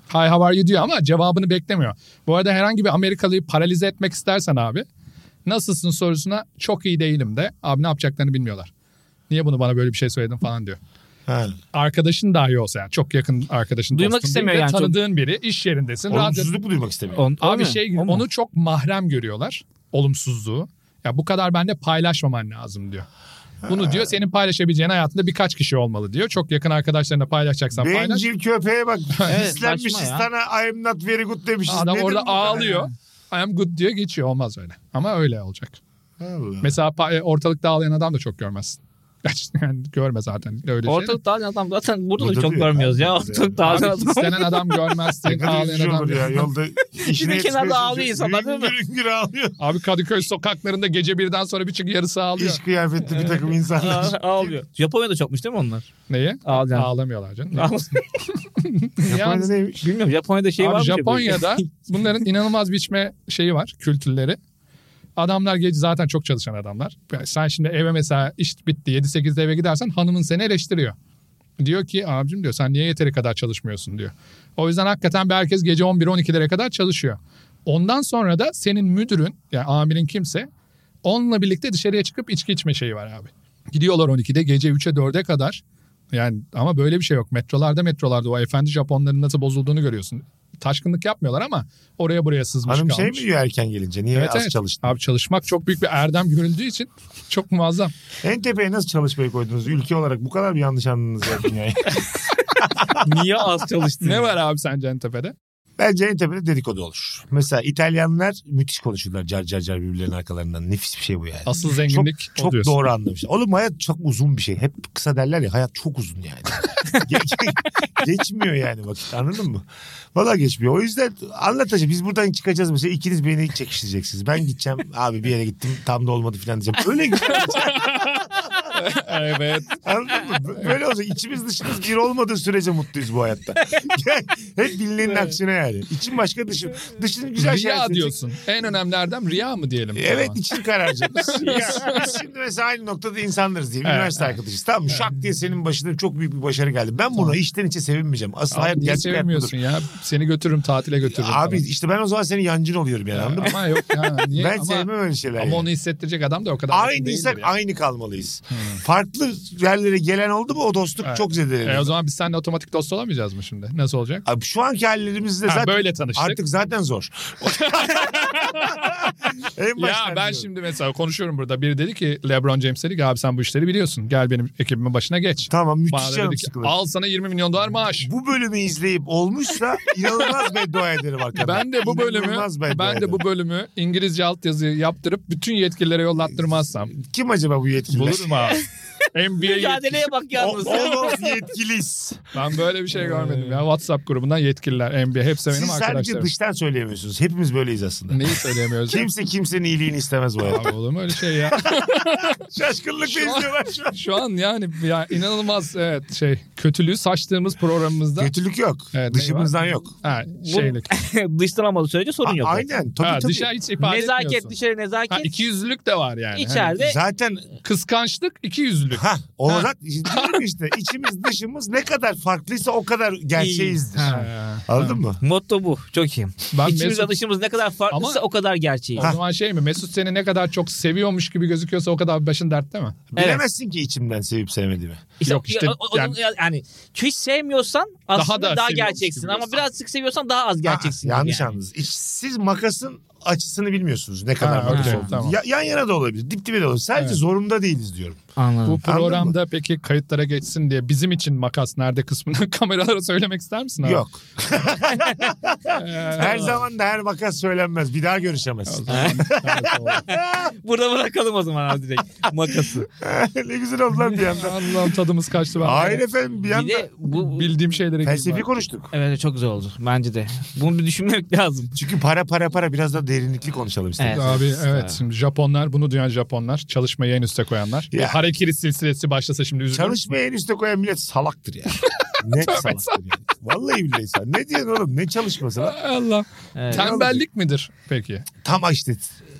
Hi how are you diyor ama cevabını beklemiyor. Bu arada herhangi bir Amerikalıyı paralize etmek istersen abi nasılsın sorusuna çok iyi değilim de abi ne yapacaklarını bilmiyorlar. Niye bunu bana böyle bir şey söyledin falan diyor.
Ha.
Arkadaşın dahi olsa yani çok yakın arkadaşın.
Duymak
dostun
istemiyor
değil de
yani çok-
Tanıdığın biri iş yerindesin. radyo-
Olumsuzluk mu duymak istemiyor?
On- o
Abi
mu?
şey
O mu?
onu çok mahrem görüyorlar olumsuzluğu. Ya bu kadar bende paylaşmaman lazım diyor. Bunu diyor senin paylaşabileceğin hayatında birkaç kişi olmalı diyor. Çok yakın arkadaşlarına paylaşacaksan paylaş.
Bencil köpeğe bak.
Evet,
Hislenmişiz
saçma ya.
sana I'm not very good demişiz.
Adam
Nedir
orada
bu kadar
ağlıyor. I am good diyor geçiyor olmaz öyle. Ama öyle olacak.
ya? Allah.
Mesela pa- e, ortalıkta ağlayan adam da çok görmezsin. Yani görme zaten öyle şey.
Ortalık dağılan adam zaten burada,
Burada
da çok
diyor,
görmüyoruz ya.
abi.
Ortalık
Abi
dağılan adam.
istenen adam
Ne
görmezsin.
kadar
ağlayan
üzücü
adam
olur ya yolda. işine
kenarda
yetişmeye
ağlıyor insanlar,
çalışıyor.
değil mi?
Hüngür hüngür ağlıyor.
Abi Kadıköy sokaklarında gece birden sonra bir çık yarısı ağlıyor.
İş kıyafetli bir takım insanlar.
Aa, Ağlıyor. Japonya'da çokmuş değil mi onlar?
Neye?
Ağlayan.
Ağlamıyorlar canım.
Japonya'da
Yalnız-
neymiş?
Bilmiyorum Japonya'da şey
Abi
var mı?
Japonya'da bunların inanılmaz biçme şeyi var, kültürleri. Adamlar gece zaten çok çalışan adamlar. Yani Sen şimdi eve mesela iş bitti 7-8'de eve gidersen hanımın seni eleştiriyor. Diyor ki abicim diyor sen niye yeteri kadar çalışmıyorsun diyor. O yüzden hakikaten bir herkes gece 11-12'lere kadar çalışıyor. Ondan sonra da senin müdürün yani amirin kimse onunla birlikte dışarıya çıkıp içki içme şeyi var abi. Gidiyorlar 12'de gece 3'e 4'e kadar. Yani ama böyle bir şey yok. Metrolarda metrolarda o efendi Japonların nasıl bozulduğunu görüyorsun. Taşkınlık yapmıyorlar ama oraya buraya sızmış
Hanım şey mi
kalmış.
diyor erken gelince? Niye
Evet,
az
evet.
çalıştın?
Abi çalışmak çok büyük bir erdem görüldüğü için çok muazzam.
En tepeye nasıl çalışmayı koydunuz? Ülke olarak bu kadar bir yanlış anladınız ya dünyayı.
Niye az çalıştın?
Ne var abi sence Entepe'de?
Bence en tepede dedikodu olur. Mesela İtalyanlar müthiş konuşurlar car car car birbirlerinin arkalarından. Nefis bir şey bu yani.
Asıl zenginlik
çok
o diyorsun.
doğru anlamışlar. Oğlum hayat çok uzun bir şey. Hep kısa derler ya hayat çok uzun yani. Ge- geçmiyor yani vakit anladın mı? Valla geçmiyor. O yüzden anlatacağım. Biz buradan çıkacağız mesela ikiniz beni çekiştireceksiniz. Ben gideceğim abi bir yere gittim tam da olmadı falan diyeceğim. Öyle gidiyor.
evet.
Anladın mı? Bö- Böyle olacak. İçimiz dışımız bir olmadığı sürece mutluyuz bu hayatta. Hep bilinenin aksine yani. İçin başka dışın. Dışın güzel şeyler.
Riya
seçecek.
diyorsun. En önemli erdem riya mı diyelim?
Evet
Tamam.
için kararacak. Biz Şimdi mesela aynı noktada insanlarız diye.
Evet,
Üniversite arkadaşıyız. Tamam mı? Şak diye senin başına çok büyük bir başarı geldi. Ben buna içten içe sevinmeyeceğim. Asıl hayat
Abi niye
gerçek hayat budur.
sevmiyorsun ya? Seni götürürüm tatile götürürüm.
Abi
falan.
işte ben o zaman senin yancın oluyorum yani anladın mı?
ama yok ya. Niye?
Ben
ama,
sevmem öyle şeyler.
ama
yani.
onu hissettirecek adam da o kadar. yakın
Aynı
değildir
insan
yani. Hmm.
aynı kalmalıyız. Farklı yerlere gelen oldu mu o dostluk
Evet.
çok zedelenir.
E o zaman biz seninle otomatik dost olamayacağız mı şimdi? Nasıl olacak?
Abi şu anki hallerimizde
Ha,
zaten
böyle tanıştık.
artık zaten zor. en
Ya
baştan
ben
diyorum.
şimdi mesela konuşuyorum burada. Biri dedi ki LeBron James dedi ki abi sen bu işleri biliyorsun. Gel benim ekibimin başına geç.
Tamam
Bana
müthiş
da
canım
dedi ki,
sıkılır.
al sana 20 milyon dolar maaş.
Bu bölümü izleyip olmuşsa inanılmaz beddua ederim arkadaşlar.
E Ben de bu bölümü
İnanılmaz beddua
ben de bu bölümü İngilizce altyazı yaptırıp bütün yetkililere yollattırmazsam
ederim. Kim acaba bu yetkili?
bulurum abi. NBA yetkili.
Mücadeleye bak yalnız.
Olmaz yetkiliyiz.
Ben böyle bir şey görmedim ya. WhatsApp grubundan yetkililer NBA hepsi benim
Siz sadece
arkadaşlarım.
dıştan söyleyemiyorsunuz. Hepimiz böyleyiz aslında.
Neyi söyleyemiyoruz?
Kimse kimsenin iyiliğini istemez bu hayatta.
Abi olur mu öyle şey ya?
Şaşkınlıkla izliyorlar şu an.
Şu an yani ya inanılmaz evet şey kötülüğü saçtığımız programımızda
Kötülük yok.
Evet,
Dışımızdan yok.
ha, şeylik.
Dıştan olmadığı sürece sorun yok.
A- Aynen. Tabii
Ha,
tabii.
dışarı hiç ifade
Nezaket
etmiyorsun.
dışarı nezaket.
Ha, iki yüzlülük de var yani. Hani
İçeride
Zaten
kıskançlık iki yüzlülük.
ha olarak diyorum işte içimiz dışımız ne kadar farklıysa o kadar gerçeğizdir.
Ha.
Anladın mı?
Motto bu. Çok iyi.
Ben
İçimiz
Mesut-
dışımız ne kadar farklıysa
Ama-
o kadar gerçeği.
O zaman şey mi Mesut seni ne kadar çok seviyormuş gibi gözüküyorsa o kadar başın dertte mi?
Evet.
Bilemezsin ki içimden sevip sevmediğimi.
Yok işte,
o- o- onun-
yani-
yani, hiç sevmiyorsan aslında daha,
da seviyormuş
gerçeksin
gibi
ama
diyorsun. Ah,
biraz sık seviyorsan daha az gerçeksin.
Ha,
gibi
yanlış
yani.
anladınız. İç- siz makasın açısını bilmiyorsunuz ne kadar
Ha,
makas
okey,
olduğunu.
tamam.
Ya- yan yana da olabilir. Dip dibe de olabilir. Sadece
Evet.
zorunda değiliz diyorum.
Bu
Anladım.
mı?
programda peki kayıtlara geçsin diye bizim için makas nerede kısmını kameralara söylemek ister misin? abi?
Yok.
Ee,
Her zaman da her makas söylenmez. Bir daha
o
görüşemezsin.
zaman- Evet, doğru.
Burada bırakalım o zaman abi direkt makası.
ne güzel oldu lan bir yandan.
Allah'ım tadımız kaçtı. Ben
Hayır efendim bir
Bir
yandan.
de bu...
Bildiğim şeylere
Felsefi
girdim.
konuştuk.
Evet çok güzel oldu bence de. Bunu bir düşünmek lazım.
Çünkü para para para biraz da derinlikli konuşalım istedim.
Evet.
Abi evet
Evet.
şimdi Japonlar bunu duyan Japonlar çalışmayı en üste koyanlar.
Ya.
O harekiri silsilesi başlasa şimdi üzülürüm.
Çalışmayı en üste koyan millet salaktır ya. Net salaktır yani. Vallahi billahi sen. Ne diyorsun oğlum? Ne çalışması lan?
Allah.
Evet.
Tembellik midir peki?
Tam işte.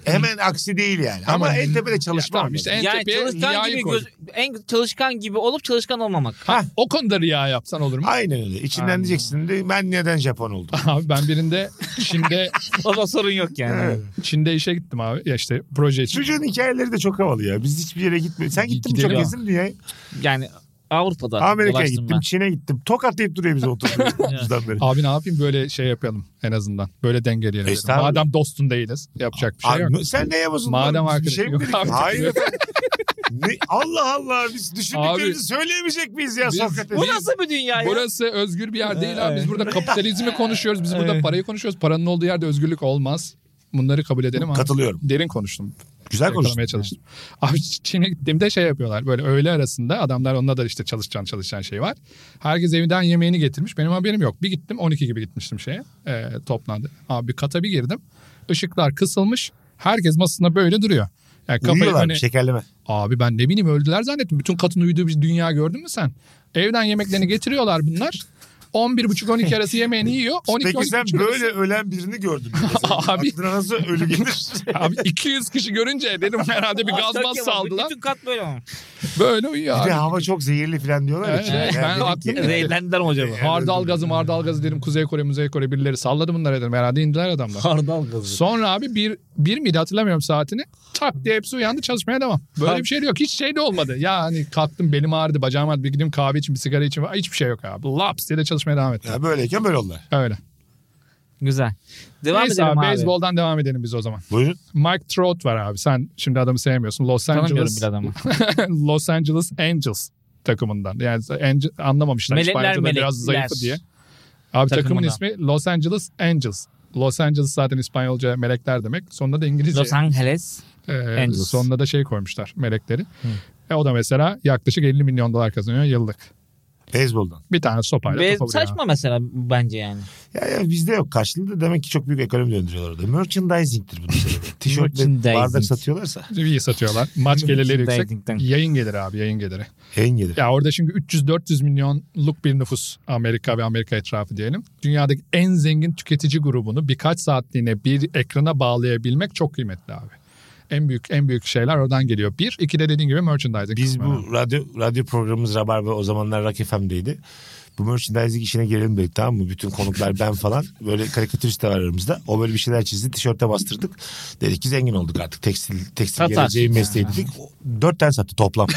Hemen aksi değil yani. Ama,
Ama-
en tepede çalışma.
Ya tamam
var.
işte en
Yani
tepeye
çalışkan
riyayı
gibi
koy.
göz- en çalışkan gibi olup çalışkan olmamak.
Ha, o konuda riya yapsan olur mu?
Aynen öyle. İçinden
Aynen.
diyeceksin de ben neden Japon oldum?
Abi ben birinde Çin'de
O zaman sorun yok yani.
Evet.
Çin'de işe gittim abi. Ya işte proje için.
Çocuğun hikayeleri de çok havalı ya. Biz hiçbir yere gitmedik. Sen gittin mi çok
Gidelim.
gezdin diye.
Yani Avrupa'da
Amerika'ya
dolaştım
gittim, Çin'e gittim. Tokatlayıp duruyor bizi oturduğumuzdan beri.
Abi ne yapayım böyle şey yapalım en azından. Böyle dengeleyelim.
Estağfurullah.
Madem dostun değiliz yapacak bir şey
E Abi,
yok.
Sen neye bozuldun?
Madem
lan? Bir
arkadaş-
şey mi
Yok
dedik?
abi.
Hayır efendim. Ne- Allah Allah biz düşündüklerimizi söyleyemeyecek miyiz ya
Biz-
Sokrates?
Bu nasıl bir dünya ya?
Burası özgür bir yer değil abi. Biz
Evet.
burada kapitalizmi konuşuyoruz. Biz burada parayı konuşuyoruz. Paranın olduğu yerde özgürlük olmaz. Bunları kabul edelim abi.
Katılıyorum.
Derin konuştum.
Güzel konuştun.
Yakalamaya çalıştım. Abi Çin'e gittiğimde şey yapıyorlar. Böyle öğle arasında adamlar onda da işte çalışacağın çalışan şey var. Herkes evinden yemeğini getirmiş. Benim haberim yok. Bir gittim 12 gibi gitmiştim şeye. E, toplandı. Abi bir kata bir girdim. Işıklar kısılmış. Herkes masasında böyle duruyor. Yani kafayı
Uyuyorlar şey.
hani,
şekerleme.
Abi ben ne bileyim öldüler zannettim. Bütün katın uyuduğu bir dünya gördün mü sen? Evden yemeklerini getiriyorlar bunlar. 11.30-12 arası yemeğini yiyor. 12,
Peki sen
12.30
böyle ölen birini gördün. mü?
Abi.
Aklına nasıl ölü gelir?
Abi 200 kişi görünce dedim herhalde bir
Aa, çok
gazmaz
yaman.
saldılar.
Bütün kat böyle ama.
Böyle uyuyor
Bir de
abi.
hava çok zehirli falan diyorlar. ya
Evet,
Çin'e.
evet.
Yani
Ben
dedim ki,
aklım-
evet.
Zehirlendiler mi acaba?
Hardal gazı mardal gazı dedim Kuzey Kore Muzey Kore birileri salladı bunları dedim herhalde indiler adamlar.
Hardal gazı.
Sonra abi bir, bir miydi hatırlamıyorum saatini. Tak diye hepsi uyandı çalışmaya devam. Böyle
Abi.
bir şey de yok. Hiç şey de olmadı. Ya hani kalktım belim ağrıdı bacağım ağrıdı bir gideyim kahve için bir sigara için. falan. Hiçbir şey yok abi. Laps diye de çalışmaya devam ettim.
Ya böyleyken böyle oldu.
Öyle.
Güzel. Devam
Neyse
edelim abi.
Beyzboldan devam edelim biz o zaman.
Buyurun.
Mike Trout var abi. Sen şimdi adamı sevmiyorsun. Los
Tanımıyorum
Angeles,
bir adamı.
Los Angeles Angels takımından. Yani Ange- anlamamışlar.
Melekler,
İspanyolca da biraz
melekler.
zayıfı diye. Abi takımın
Takımından.
ismi Los Angeles Angels. Los Angeles zaten İspanyolca melekler demek. Sonunda da İngilizce.
Los Angeles.
Ee,
Angels.
Sonuna da şey koymuşlar melekleri. E o da mesela yaklaşık 50 milyon dolar kazanıyor yıllık.
Beyzboldan.
Bir tane sopayla
Ve
topa vuruyor.
saçma mesela bence yani.
Ya, ya bizde yok. Karşılığı da demek ki çok büyük ekonomi döndürüyorlar orada. Merchandising'tir bunun sebebi. Tişört ve
Merchandising.
bardak satıyorlarsa
İyi satıyorlar. Maç gelirleri yüksek.
Merchandising'den.
Yayın geliri abi yayın geliri.
en gelir.
Ya orada çünkü 300-400 milyonluk bir nüfus Amerika ve Amerika etrafı diyelim. Dünyadaki en zengin tüketici grubunu birkaç saatliğine bir ekrana bağlayabilmek çok kıymetli abi. En büyük en büyük şeyler oradan geliyor. Bir, iki de dediğin gibi merchandising.
Biz
kısmı.
bu radyo radyo programımız Rabarba o zamanlar Rock FM'deydi. Bu merchandising işine girelim dedik tamam mı? Bütün konuklar ben falan. Böyle karikatürist de var aramızda. O böyle bir şeyler çizdi. Tişörte bastırdık. Dedik ki zengin olduk artık. Tekstil, tekstil
Satar.
geleceği mesleği dedik. O- Dört tane sattı toplam.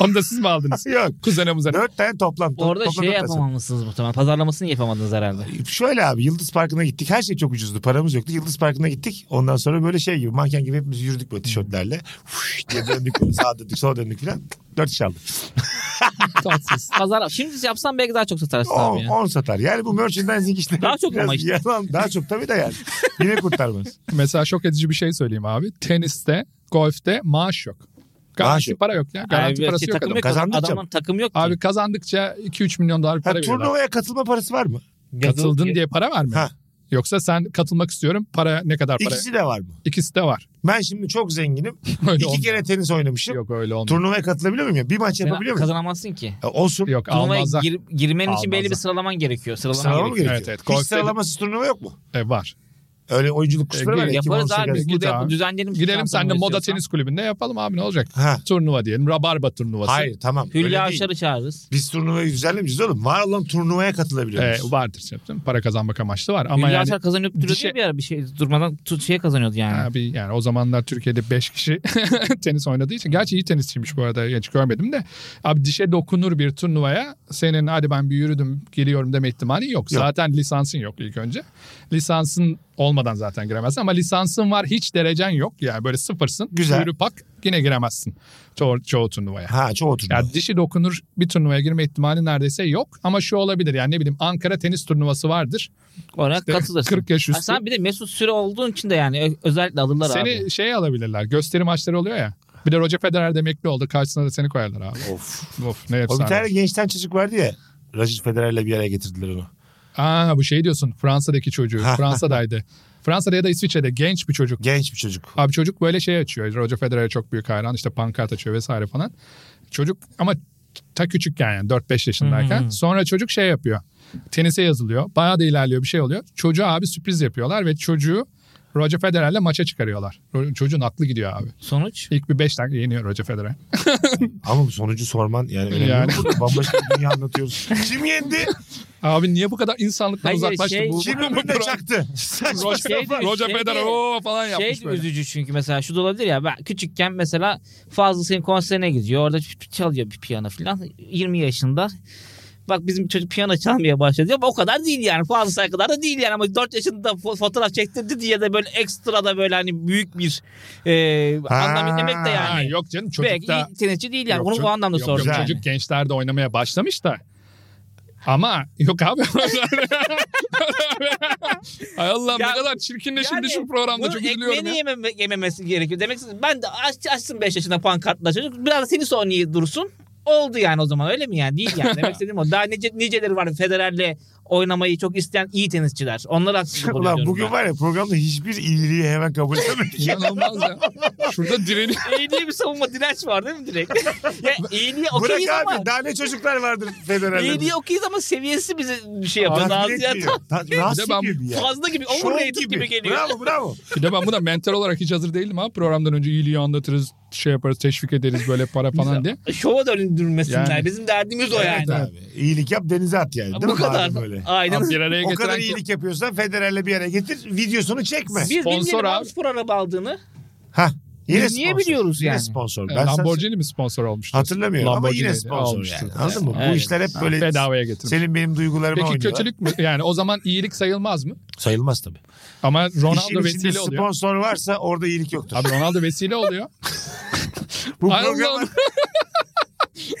Onu da siz mi aldınız?
Yok.
Kuzene muzene.
Dört tane toplam. To-
Orada
toplam
şey
dört tane sattı.
yapamamışsınız muhtemelen. Pazarlamasını yapamadınız herhalde.
Şöyle abi Yıldız Parkı'na gittik. Her şey çok ucuzdu. Paramız yoktu. Yıldız Parkı'na gittik. Ondan sonra böyle şey gibi manken gibi hepimiz yürüdük böyle tişörtlerle. Fuş diye döndük böyle sağa döndük sola döndük falan. Dört iş aldık.
Tatsız.
Pazar şimdi yapsan belki daha çok satarsın abi
On,
ya.
on satar. Yani bu merchandising işleri.
Daha çok
biraz
ama işte.
Yalan, daha çok tabii de yani. Yine kurtarmaz.
Mesela şok edici bir şey söyleyeyim abi. Teniste, golfte maaş yok. Garanti
Maaş yok.
para yok ya.
Abi,
Garanti
şey,
parası yok
takım
adam.
ki.
Kazandıkça
Adamın takım yok ki.
Abi kazandıkça 2-3 milyon dolar
Ha,
para veriyorlar.
turnuvaya katılma parası var mı?
Katıldın diye para var
Ha.
mı? Yoksa sen katılmak istiyorum para ne kadar para?
İkisi de var mı?
İkisi de var.
Ben şimdi çok zenginim.
Öyle
İki kere tenis oynamışım.
Yok öyle olmuyor.
Turnuvaya katılabiliyor muyum? ya? Bir maç
Sen
yapabiliyor muyum?
Kazanamazsın ki.
E, olsun.
Yok
Turnuvaya
almazlar.
gir, girmen için belli bir
Almazlar.
sıralaman gerekiyor. Sıralaman
Sıralama mı
gerekiyor.
gerekiyor?
Evet, evet.
Hiç
Golf'te de-
sıralamasız turnuva yok mu?
E, var.
Öyle oyunculuk kusura var ya.
Yaparız
2018
abi.
arası.
Biz burada
Git
yap-
abi.
düzenleyelim.
Gidelim sen de
şampiyonu
Moda
istiyorsan.
Tenis Kulübü'nde yapalım abi ne olacak?
Ha.
Turnuva diyelim. Rabarba turnuvası.
Hayır tamam.
Hülya
öyle değil.
Avşar'ı çağırırız.
Biz turnuvayı güzellemişiz oğlum. Var olan turnuvaya
E,
Ee,
katılabiliyoruz.
vardır canım. Para kazanmak amaçlı var. Ama
Hülya
yani,
Avşar kazanıp duruyordu
dişe-
bir ara bir şey durmadan tut, şeye kazanıyordu yani.
abi, yani o zamanlar Türkiye'de 5 kişi tenis oynadığı için. Gerçi iyi tenisçiymiş bu arada. Hiç görmedim de. Abi dişe dokunur bir turnuvaya. Senin hadi ben bir yürüdüm geliyorum deme ihtimali yok.
Yok.
Zaten lisansın yok ilk önce. Lisansın olmadan zaten giremezsin. Ama lisansın var hiç derecen yok. Yani böyle sıfırsın.
Güzel.
Yürü pak yine giremezsin. Çoğu, çoğu turnuvaya.
ha çoğu turnuva.
Ya dişi dokunur bir turnuvaya girme ihtimali neredeyse yok. Ama şu olabilir yani ne bileyim Ankara tenis turnuvası vardır.
Olarak katılırsın.
40 yaş
Ha,
üstü.
sen bir de Mesut Süre olduğun için de yani ö- özellikle alırlar
Seni
abi.
şey alabilirler. Gösteri maçları oluyor ya. Bir de Roger Federer de emekli oldu. Karşısına da seni koyarlar abi.
Of.
of ne
O bir tane
efsane.
gençten çocuk vardı ya. Roger Federer'le bir araya getirdiler onu.
Aa bu şey diyorsun Fransa'daki çocuğu. Fransa'daydı. Fransa'da ya da İsviçre'de genç bir çocuk.
Genç bir çocuk.
Abi çocuk böyle şey açıyor. Roger Federer'e çok büyük hayran. İşte pankart açıyor vesaire falan. Çocuk ama ta küçükken yani 4-5 yaşındayken. Sonra çocuk şey yapıyor. Tenise yazılıyor. Bayağı da ilerliyor bir şey oluyor. Çocuğa abi sürpriz yapıyorlar ve çocuğu Roger Federer'le maça çıkarıyorlar. Ro- Çocuğun aklı gidiyor abi.
Sonuç.
İlk bir 5 dakika yeniyor Roger Federer.
Ama bu sonucu sorman yani önemli.
Yani.
Burada Bambaşka bir dünya anlatıyoruz. Kim yendi?
Abi niye bu kadar insanlıktan
Hayır,
uzaklaştı
şey-
bu?
Kim
bu- bu-
ömründe
bu-
çaktı? Saçma
Roger,
Şey diyor,
Roger
şey
Federer
diyor.
o falan
Şey
yapmış böyle.
üzücü çünkü mesela şu da olabilir ya ben küçükken mesela Fazıl Say'ın konserine gidiyor orada ç- ç- çalıyor bir piyano falan 20 yaşında bak bizim çocuk piyano çalmaya başladı ama o kadar değil yani Fazıl Say kadar da değil yani ama 4 yaşında fo- fotoğraf çektirdi diye de böyle ekstra da böyle hani büyük bir e,
Ha,
anlam demek de
Ha,
yani.
yok canım çocuk
Belki
da...
iyi tenisçi değil yani.
Yok,
Onu
çocuk-
o anlamda
yok,
sordum.
yok,
yani.
Çocuk gençlerde oynamaya başlamış da. Ama yok abi. Ay Allah'ım
Ya-
ne kadar çirkinleşildi
Yani
şu programda
bunun
çok üzülüyorum
ekmeğini
ya.
yememe- yememesi gerekiyor. Demek ki ben de aç, açsın 5 yaşında pankartla çocuk. Biraz da tenis oynayıp dursun. Oldu yani o zaman öyle mi yani? Değil yani. Demek istediğim o. Daha nice, niceleri var Federer'le oynamayı çok isteyen iyi tenisçiler. Onlara haksızlık oluyor
Ulan
diyorum
bugün
ben.
var ya programda hiçbir iyiliği hemen kabul edemedik.
İnanılmaz ya. Şurada direniyor.
İyiliğe bir savunma direnç var değil mi direkt? ya iyiliğe
Bırak
okeyiz ama.
abi daha ne çocuklar vardır Federer'le.
İyiliğe okeyiz ama seviyesi bize bir şey yapıyor.
Rahatsız
Rahatsız
etmiyor. Ta- Rahatsız
Bir de ben-
ediyor bir ya.
Fazla gibi.
Şov
Overrated gibi. gibi geliyor.
Bravo bravo.
Bir de ben buna mental olarak hiç hazır değilim ha. Programdan önce iyiliği anlatırız, şey yaparız, teşvik ederiz böyle para falan diye.
Şova döndürmesinler.
Yani.
Bizim derdimiz o yani.
Evet abi. İyilik yap denize at yani. Değil
Bu
mi
kadar.
madem Böyle.
Aynen.
Abi bir araya
O kadar
getiren kim?
iyilik yapıyorsan Federer'le bir yere getir. Videosunu çekme.
Biz
Sponsor
bilmiyorum abi
abi.
spor araba aldığını.
Hah. Yine
Biz niye
sponsor.
biliyoruz
Yine
yani?
sponsor.
E,
Ben
Lamborghini mi sponsor olmuştu?
Sen... Hatırlamıyorum ama yine
Lamborghini'ydi,
sponsor
almıştı.
yani. Anladın mı? Bu
Evet.
işler hep böyle
Bedavaya getirmiş.
senin benim duygularıma
Peki
oynuyorlar.
kötülük mü? Yani o zaman iyilik sayılmaz mı?
Sayılmaz tabii.
Ama
İşin
Ronaldo
içinde
vesile oluyor.
sponsor varsa orada iyilik yoktur.
Abi Ronaldo vesile oluyor.
bu
Ay
programa...
Allah'ım.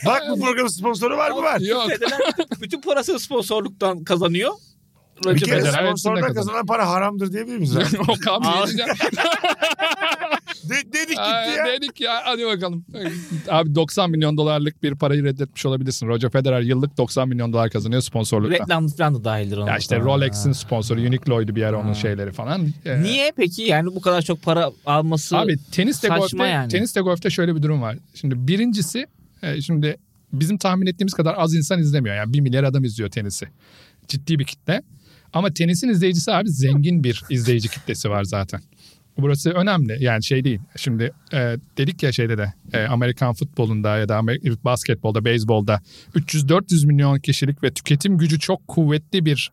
Bak bu programın sponsoru var mı var?
Yok.
Federer bütün parasını sponsorluktan kazanıyor.
Bir
Roger
kere
Federer.
Federer
sponsordan
hepsinde kazanır.
kazanan para haramdır diyebilir miyiz? abi?
Yok abi
Abi.
yedinci-
De- dedik gitti
Aa,
ya.
Dedik ya hadi bakalım. Abi 90 milyon dolarlık bir parayı reddetmiş olabilirsin. Roger Federer yıllık 90 milyon dolar kazanıyor sponsorluktan.
Reklam falan da dahildir ona.
Ya işte Rolex'in sponsoru Uniqlo'ydu bir ara onun şeyleri falan. Ee,
Niye peki yani bu kadar çok para alması?
Abi teniste
saçma
golfte,
yani.
teniste golfte şöyle bir durum var. Şimdi birincisi e, şimdi bizim tahmin ettiğimiz kadar az insan izlemiyor. Yani 1 milyar adam izliyor tenisi. Ciddi bir kitle. Ama tenisin izleyicisi abi zengin bir izleyici kitlesi var zaten. Burası önemli yani şey değil. Şimdi e, dedik ya şeyde de e, Amerikan futbolunda ya da Amer- basketbolda, beyzbolda 300-400 milyon kişilik ve tüketim gücü çok kuvvetli bir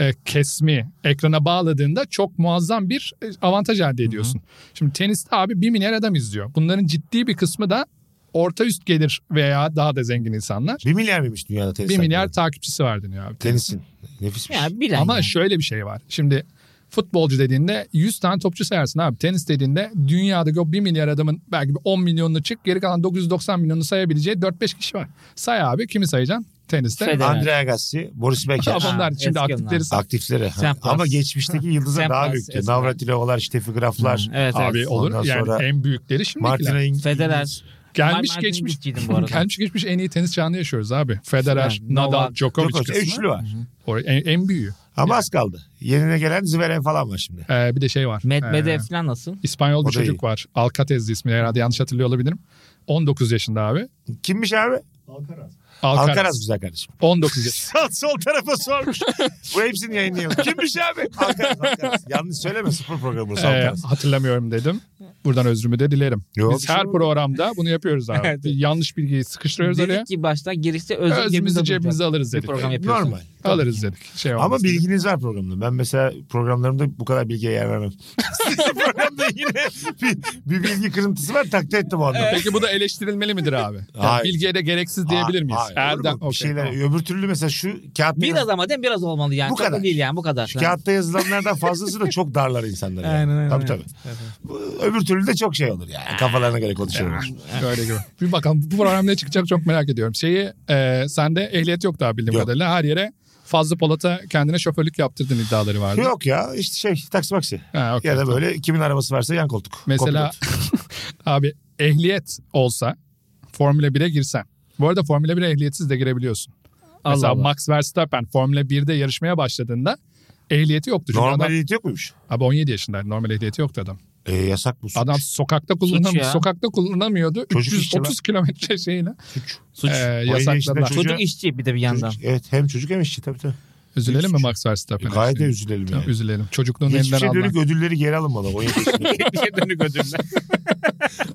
e, kesmi ekrana bağladığında çok muazzam bir e, avantaj elde ediyorsun. Şimdi teniste abi bir milyar adam izliyor. Bunların ciddi bir kısmı da orta üst gelir veya daha da zengin insanlar.
Bir milyar mıymış dünyada tenis?
Bir milyar
hakları?
takipçisi var deniyor abi.
Tenisin. Nefismiş.
yani bilen
Ama
yani.
şöyle bir şey var. Şimdi futbolcu dediğinde 100 tane topçu sayarsın abi. Tenis dediğinde dünyada o 1 milyar adamın belki bir 10 milyonunu çık geri kalan 990 milyonunu sayabileceği 4-5 kişi var. Say abi kimi sayacaksın? Teniste.
Federer.
Andrea Gassi, Boris Becker.
Ama onlar
Ha,
şimdi
eski
aktifleri say.
Aktifleri.
Sen pas.
Ama geçmişteki yıldızlar
Sen
daha
pas,
büyüktü.
Esmer.
Navratilovalar, Steffi Graflar.
Hı, evet, evet.
Abi olur.
Ondan
Yani
sonra
en büyükleri şimdikiler.
Martina Hingis.
Federer.
Gelmiş
Ben Martin
geçmiş.
Gitti'ydim bu arada.
gelmiş geçmiş en iyi tenis çağını yaşıyoruz abi. Federer,
Yani
Nadal,
Novak,
Djokovic,
Djokovic.
kısmı.
Üçlü var.
Or- En, en büyüğü.
Ama az kaldı. Yerine gelen Zverev falan var şimdi.
Ee, bir de şey var.
Med
Ee,
Medvedev falan nasıl?
İspanyol
O
bir
da
çocuk
iyi.
var. Alcatraz ismi herhalde yanlış hatırlıyor olabilirim. 19 yaşında abi.
Kimmiş abi?
Alcaraz.
Alcaraz güzel kardeşim.
19 yaş.
Sağ sol tarafa sormuş. Bu hepsini yayınlayalım. Kimmiş abi? Alcaraz, Alcaraz. Yanlış söyleme spor programı burası
Ee,
Alcaraz.
hatırlamıyorum dedim. Buradan özrümü de dilerim.
Yok, bir
Biz
şey
her
yok.
programda bunu yapıyoruz abi.
Evet.
Bir Yanlış bilgiyi sıkıştırıyoruz oraya.
Dedik ki baştan gelirse özür
Özümüzü
cebimize
cebimize
cebimize
alırız
bir
dedik.
program yapıyorsun.
Normal.
Alırız dedik. Şey
Ama
olmaz dedik.
bilginiz var programda. Ben mesela programlarımda bu kadar bilgiye yer vermem. Sizin programda yine bir, bir bilgi kırıntısı var. Takdir ettim o anda.
Peki bu da eleştirilmeli midir abi? Yani
Hayır.
bilgiye de gereksiz diyebilir miyiz?
Hayır, olur mu?
Erdem, okey,
bir şeyler.
tamam.
Öbür türlü mesela şu kağıtta, yaz-
Biraz ama değil mi? Biraz olmalı yani.
Bu
Çok da
kadar.
değil yani bu kadar.
şu kağıtta yazılanlardan fazlası da çok darlar insanları. Yani. tabii tabii. Bu- Öbür türlü de çok şey olur yani. Kafalarına göre konuşuyorlar.
Böyle gibi. Bir bakalım bu program ne çıkacak çok merak ediyorum. Şeyi e, sende ehliyet yok daha bildiğim
Yok.
kadarıyla. Her yere Fazlı Polat'a kendine şoförlük yaptırdın iddiaları vardı.
Yok ya işte şey taksi maksi.
Ha, okey,
Ya da
tamam.
böyle kimin arabası varsa yan koltuk.
Mesela
Kopilot.
abi ehliyet olsa Formula 1'e girsen. Bu arada Formula 1'e ehliyetsiz de girebiliyorsun. Mesela
Allah.
Max Verstappen Formula 1'de yarışmaya başladığında ehliyeti yoktu. Çünkü
normal
adam-
ehliyet yok muymuş?
abi 17 yaşındaydı. Normal ehliyeti yoktu adam.
E, yasak bu suç.
Adam sokakta kullanamıyor.
ya.
Sokakta kullanamıyordu.
Çocuk işçi
330 kilometre şeyle.
suç.
Suç.
Ee,
yaşında
yasakladılar.
çocuk-
Çocuk
çocuğa-
işçi bir de bir yandan.
Çocuk- evet hem çocuk hem işçi tabii tabii.
Üzülelim mi
Suç.
Max Verstappen'e?
E, gayet de
Şimdi?
üzülelim
Tamam,
yani.
Üzülelim. Çocukluğun
Hiçbir
elinden
şey
alınmak.
dönük ödülleri geri alınmalı. 17 yaşında.
bir şey dönük ödülle.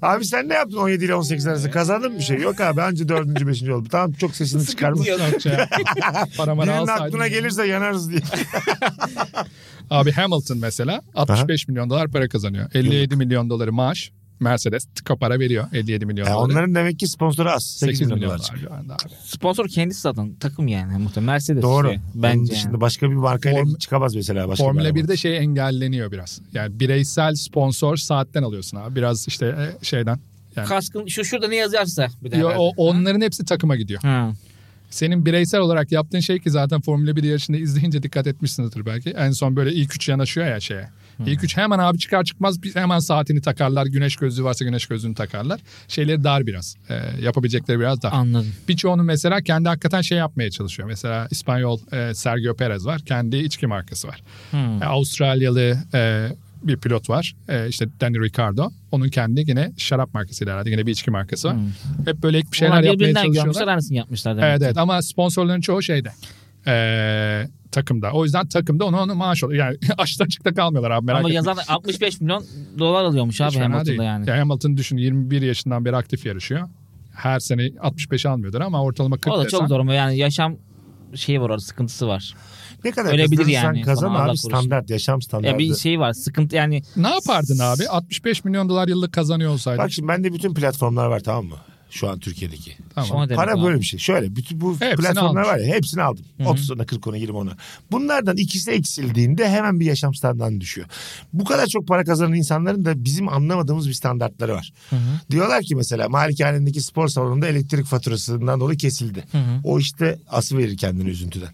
abi sen ne yaptın 17 ile 18 arası? Kazandın mı bir şey? Yok abi anca 4. 5. oldu. Tamam çok sesini çıkarmış.
Yok şey. Para mara
Birinin
alsaydın
aklına
ya.
gelirse yanarız diye.
Abi Hamilton mesela 65 milyon dolar para kazanıyor. 57 milyon doları maaş. Mercedes tıka para veriyor 57 milyon
Yani
doları.
onların demek ki sponsoru az. 8,
8
E, milyon,
milyon
dolar.
dolar civarında abi.
Sponsor kendisi zaten takım yani muhtemelen. Mercedes.
Doğru.
Şey,
Onun
bence
dışında
yani.
başka bir markayla
Form-
çıkamaz mesela. Başka
Formula
bir araba.
1'de şey engelleniyor biraz. Yani bireysel sponsor saatten alıyorsun abi. Biraz işte e, şeyden. Yani
Kaskın şu şurada ne yazarsa bir de.
Yo,
herhalde.
o, onların hepsi takıma gidiyor.
Ha.
Senin bireysel olarak yaptığın şey ki zaten Formula 1 yarışını izleyince dikkat etmişsinizdir belki. En son böyle ilk üç yanaşıyor ya şeye.
Hmm.
İlk üç hemen abi çıkar çıkmaz bir- hemen saatini takarlar. Güneş gözlüğü varsa güneş gözlüğünü takarlar. Şeyleri dar biraz. Ee, yapabilecekleri biraz dar.
Anladım.
Birçoğunu mesela kendi hakikaten şey yapmaya çalışıyor. Mesela İspanyol e, Sergio Perez var. Kendi içki markası var.
Hmm.
E, Avustralyalı e, bir pilot var. E, işte Danny Ricardo. Onun kendi yine şarap markasıyla herhalde. Yine bir içki markası var. Hep böyle bir şeyler
Hmm. Onlar
yapmaya
birbirinden
çalışıyorlar.
görmüşler aynısını yapmışlar demek.
Evet evet ama sponsorların çoğu şeyde. Ee, takımda. O yüzden takımda ona ona maaş oluyor. Yani açta açıkta kalmıyorlar abi merak
Ama
etme.
yazan 65 milyon dolar alıyormuş abi
Hiç fena değil.
Hamilton'da yani.
Ya Hamilton düşün 21 yaşından beri aktif yarışıyor. Her sene 65 almıyordur ama ortalama 40
O da
desen.
çok zor yani yaşam şeyi var orada sıkıntısı var.
Ne kadar
Ölebilir
kazanırsan
yani.
kazan
Sana Allah
abi
korusun.
standart. Yaşam standartı.
Ya bir şey var sıkıntı yani
Ne yapardın abi? 65 milyon dolar yıllık kazanıyor olsaydın.
Bak şimdi bende bütün platformlar var tamam mı? Şu an Türkiye'deki.
tamam.
ona demek
Para
abi.
böyle bir şey. Şöyle bütün bu
Hepsini
platformlar
almış.
var ya hepsini aldım. 30 ona 40 ona 20 ona. Bunlardan ikisi eksildiğinde hemen bir yaşam standartı düşüyor. Bu kadar çok para kazanan insanların da bizim anlamadığımız bir standartları var. Diyorlar ki mesela malikanendeki spor salonunda elektrik faturasından dolayı kesildi. O işte ası verir kendini üzüntüden.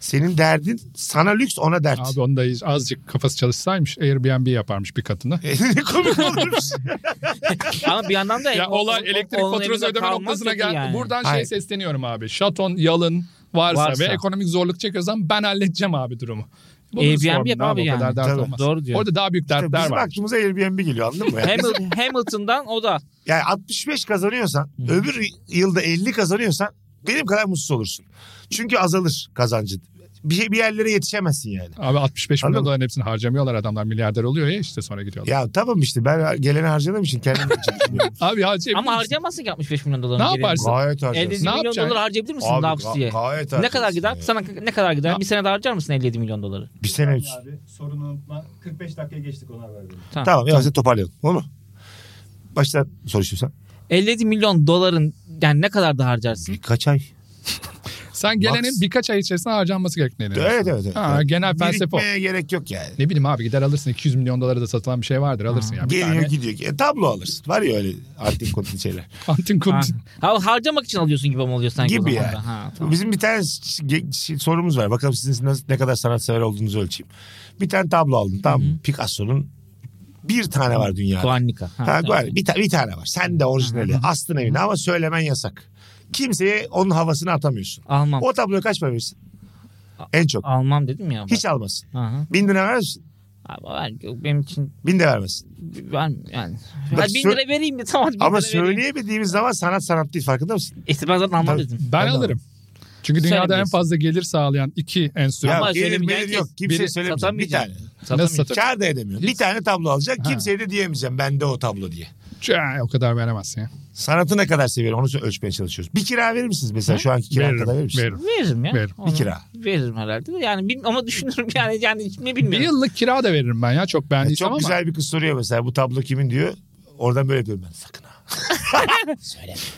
Senin derdin sana lüks ona dert.
Abi onu da iz- azıcık kafası çalışsaymış Airbnb yaparmış bir katını.
ne komik şey. olurmuş.
Ama bir yandan da
Ya
Şey, o-
olay
o-
elektrik
onun
faturası
elinde
ödeme
kalmak
noktasına
kötü
geldi.
yani.
Buradan şey
Hayır.
sesleniyorum abi. Şaton, yalın varsa,
Varsa.
ve ekonomik zorluk çekiyorsan ben halledeceğim abi durumu.
Airbnb
sormayın
yap abi
o kadar
yani.
dert
Tabii.
olmaz.
Doğru diyor.
Orada daha büyük
Bizim
dertler var.
aklımıza Airbnb geliyor anladın mı? Yani,
Hamil- Hamilton'dan o da
yani 65 kazanıyorsan öbür yılda 50 kazanıyorsan benim kadar mutsuz olursun. Çünkü azalır kazancın. Bir, şey- bir yerlere yetişemezsin yani.
Abi 65
Anladın
milyon
mı?
doların hepsini harcamıyorlar adamlar. Milyarder oluyor ya işte sonra gidiyorlar.
Ya tamam işte ben geleni harcadığım için kendim için düşünüyorum.
Abi harcayabilir
ama
misin?
harcayamazsın ki 65 milyon dolarını.
Ne
geriye.
yaparsın?
Gayet
57
harcarsın.
Ne
milyon
yapacaksın?
dolar harcayabilir misin
Abi,
Naps
ga-
diye?
gayet
Ne kadar
harcarsın
gider?
ya.
Sana ne kadar gider? Bir senede harcar mısın 57 milyon doları?
Bir sene
Abi
üst.
Abi, sorunu unutma. 45 dakikaya geçtik ona haber verin.
Tamam yavaşça toparlayalım. Olur mu? Baştan soru istiyorsan.
57 milyon doların yani ne kadar da harcarsın?
Birkaç ay.
Sen gelenin
Max-
birkaç ay içerisinde harcanması gerektiğini.
Evet evet. evet.
Ha, genel felsefe o.
Birikmeye gerek yok yani.
Ne bileyim abi gider alırsın 200 milyon dolara da satılan bir şey vardır alırsın ya. Bir
Geliyor
tane
gidiyor. E, tablo alırsın. Var ya öyle antin kontin şeyler.
antin
Ha.
kuntin.
Ha, harcamak için alıyorsun gibi mi oluyor sanki? o
Gibi
zaman da?
yani.
Ha, tamam.
Bizim bir tane ş- ge- ş- sorumuz var. Bakalım sizin nasıl- ne kadar sanatsever olduğunuzu ölçeyim. Bir tane tablo aldım. Tamam mı? Picasso'nun bir tane var dünyada.
Guernica. Ha,
Ha,
tamam.
Guernica. bir, ta- bir tane var. Sen de orijinali. Astın evine ama söylemen yasak. Kimseye onun havasını atamıyorsun.
Almam.
O tabloya kaç para verirsin? En çok.
Almam dedim ya.
Hiç almasın.
Aha.
Bin lira verir misin?
Abi ver, benim için
Bin de vermesin.
ben yani.
Bak
Bak, bin
sö-
lira vereyim mi? Tamam bin
Ama
lira vereyim.
söyleyemediğimiz zaman sanat sanat değil farkında mısın?
İşte ben zaten almam
Tabii.
dedim.
Ben
Ben de
alırım. Çünkü dünyada en
Söylemeyiz.
fazla gelir sağlayan iki enstrüman.
Ama
ya gelir
söylemeyen
gelir
kes.
yok. Kimse
Biri
söylemeyecek. Bir tane.
satamayacak.
Nasıl satar?
Kar da edemiyor. Bir tane tablo alacak. Kimseye de diyemeyeceğim bende o tablo diye.
Çaa, o kadar veremezsin ya.
Sanatı ne kadar seviyorum onu ölçmeye çalışıyoruz. Bir kira verir misiniz mesela şu anki kira
Veririm,
kadar verir misiniz?
veririm.
Veririm ya.
Veririm.
Onu
Bir kira.
Veririm herhalde. Yani bil- ama düşünürüm yani yani ne
Bir
bilmiyorum.
yıllık kira da veririm ben ya çok
Yani
beğendiysem
E, çok
ama.
güzel bir kız soruyor mesela bu tablo kimin diyor. Oradan böyle diyorum ben sakın ha.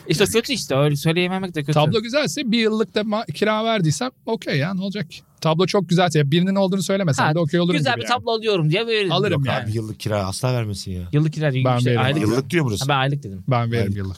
İşte kötü işte öyle söyleyememek de kötü.
Tablo güzelse bir yıllık da ma- kira verdiysem okey ya ne olacak? ki? Tablo çok güzelse ya birinin olduğunu
Ha,
söylesen de okey olurum
Güzel
gibi
bir
yani.
tablo alıyorum diye veririm.
Alırım
Yok
yani.
abi yıllık kira asla vermesin ya.
Yıllık ileride gibi
Ben
bir şey.
veririm.
Aylık.
Yıllık diyor burası.
Ha, ben aylık dedim.
Ben veririm yıllık.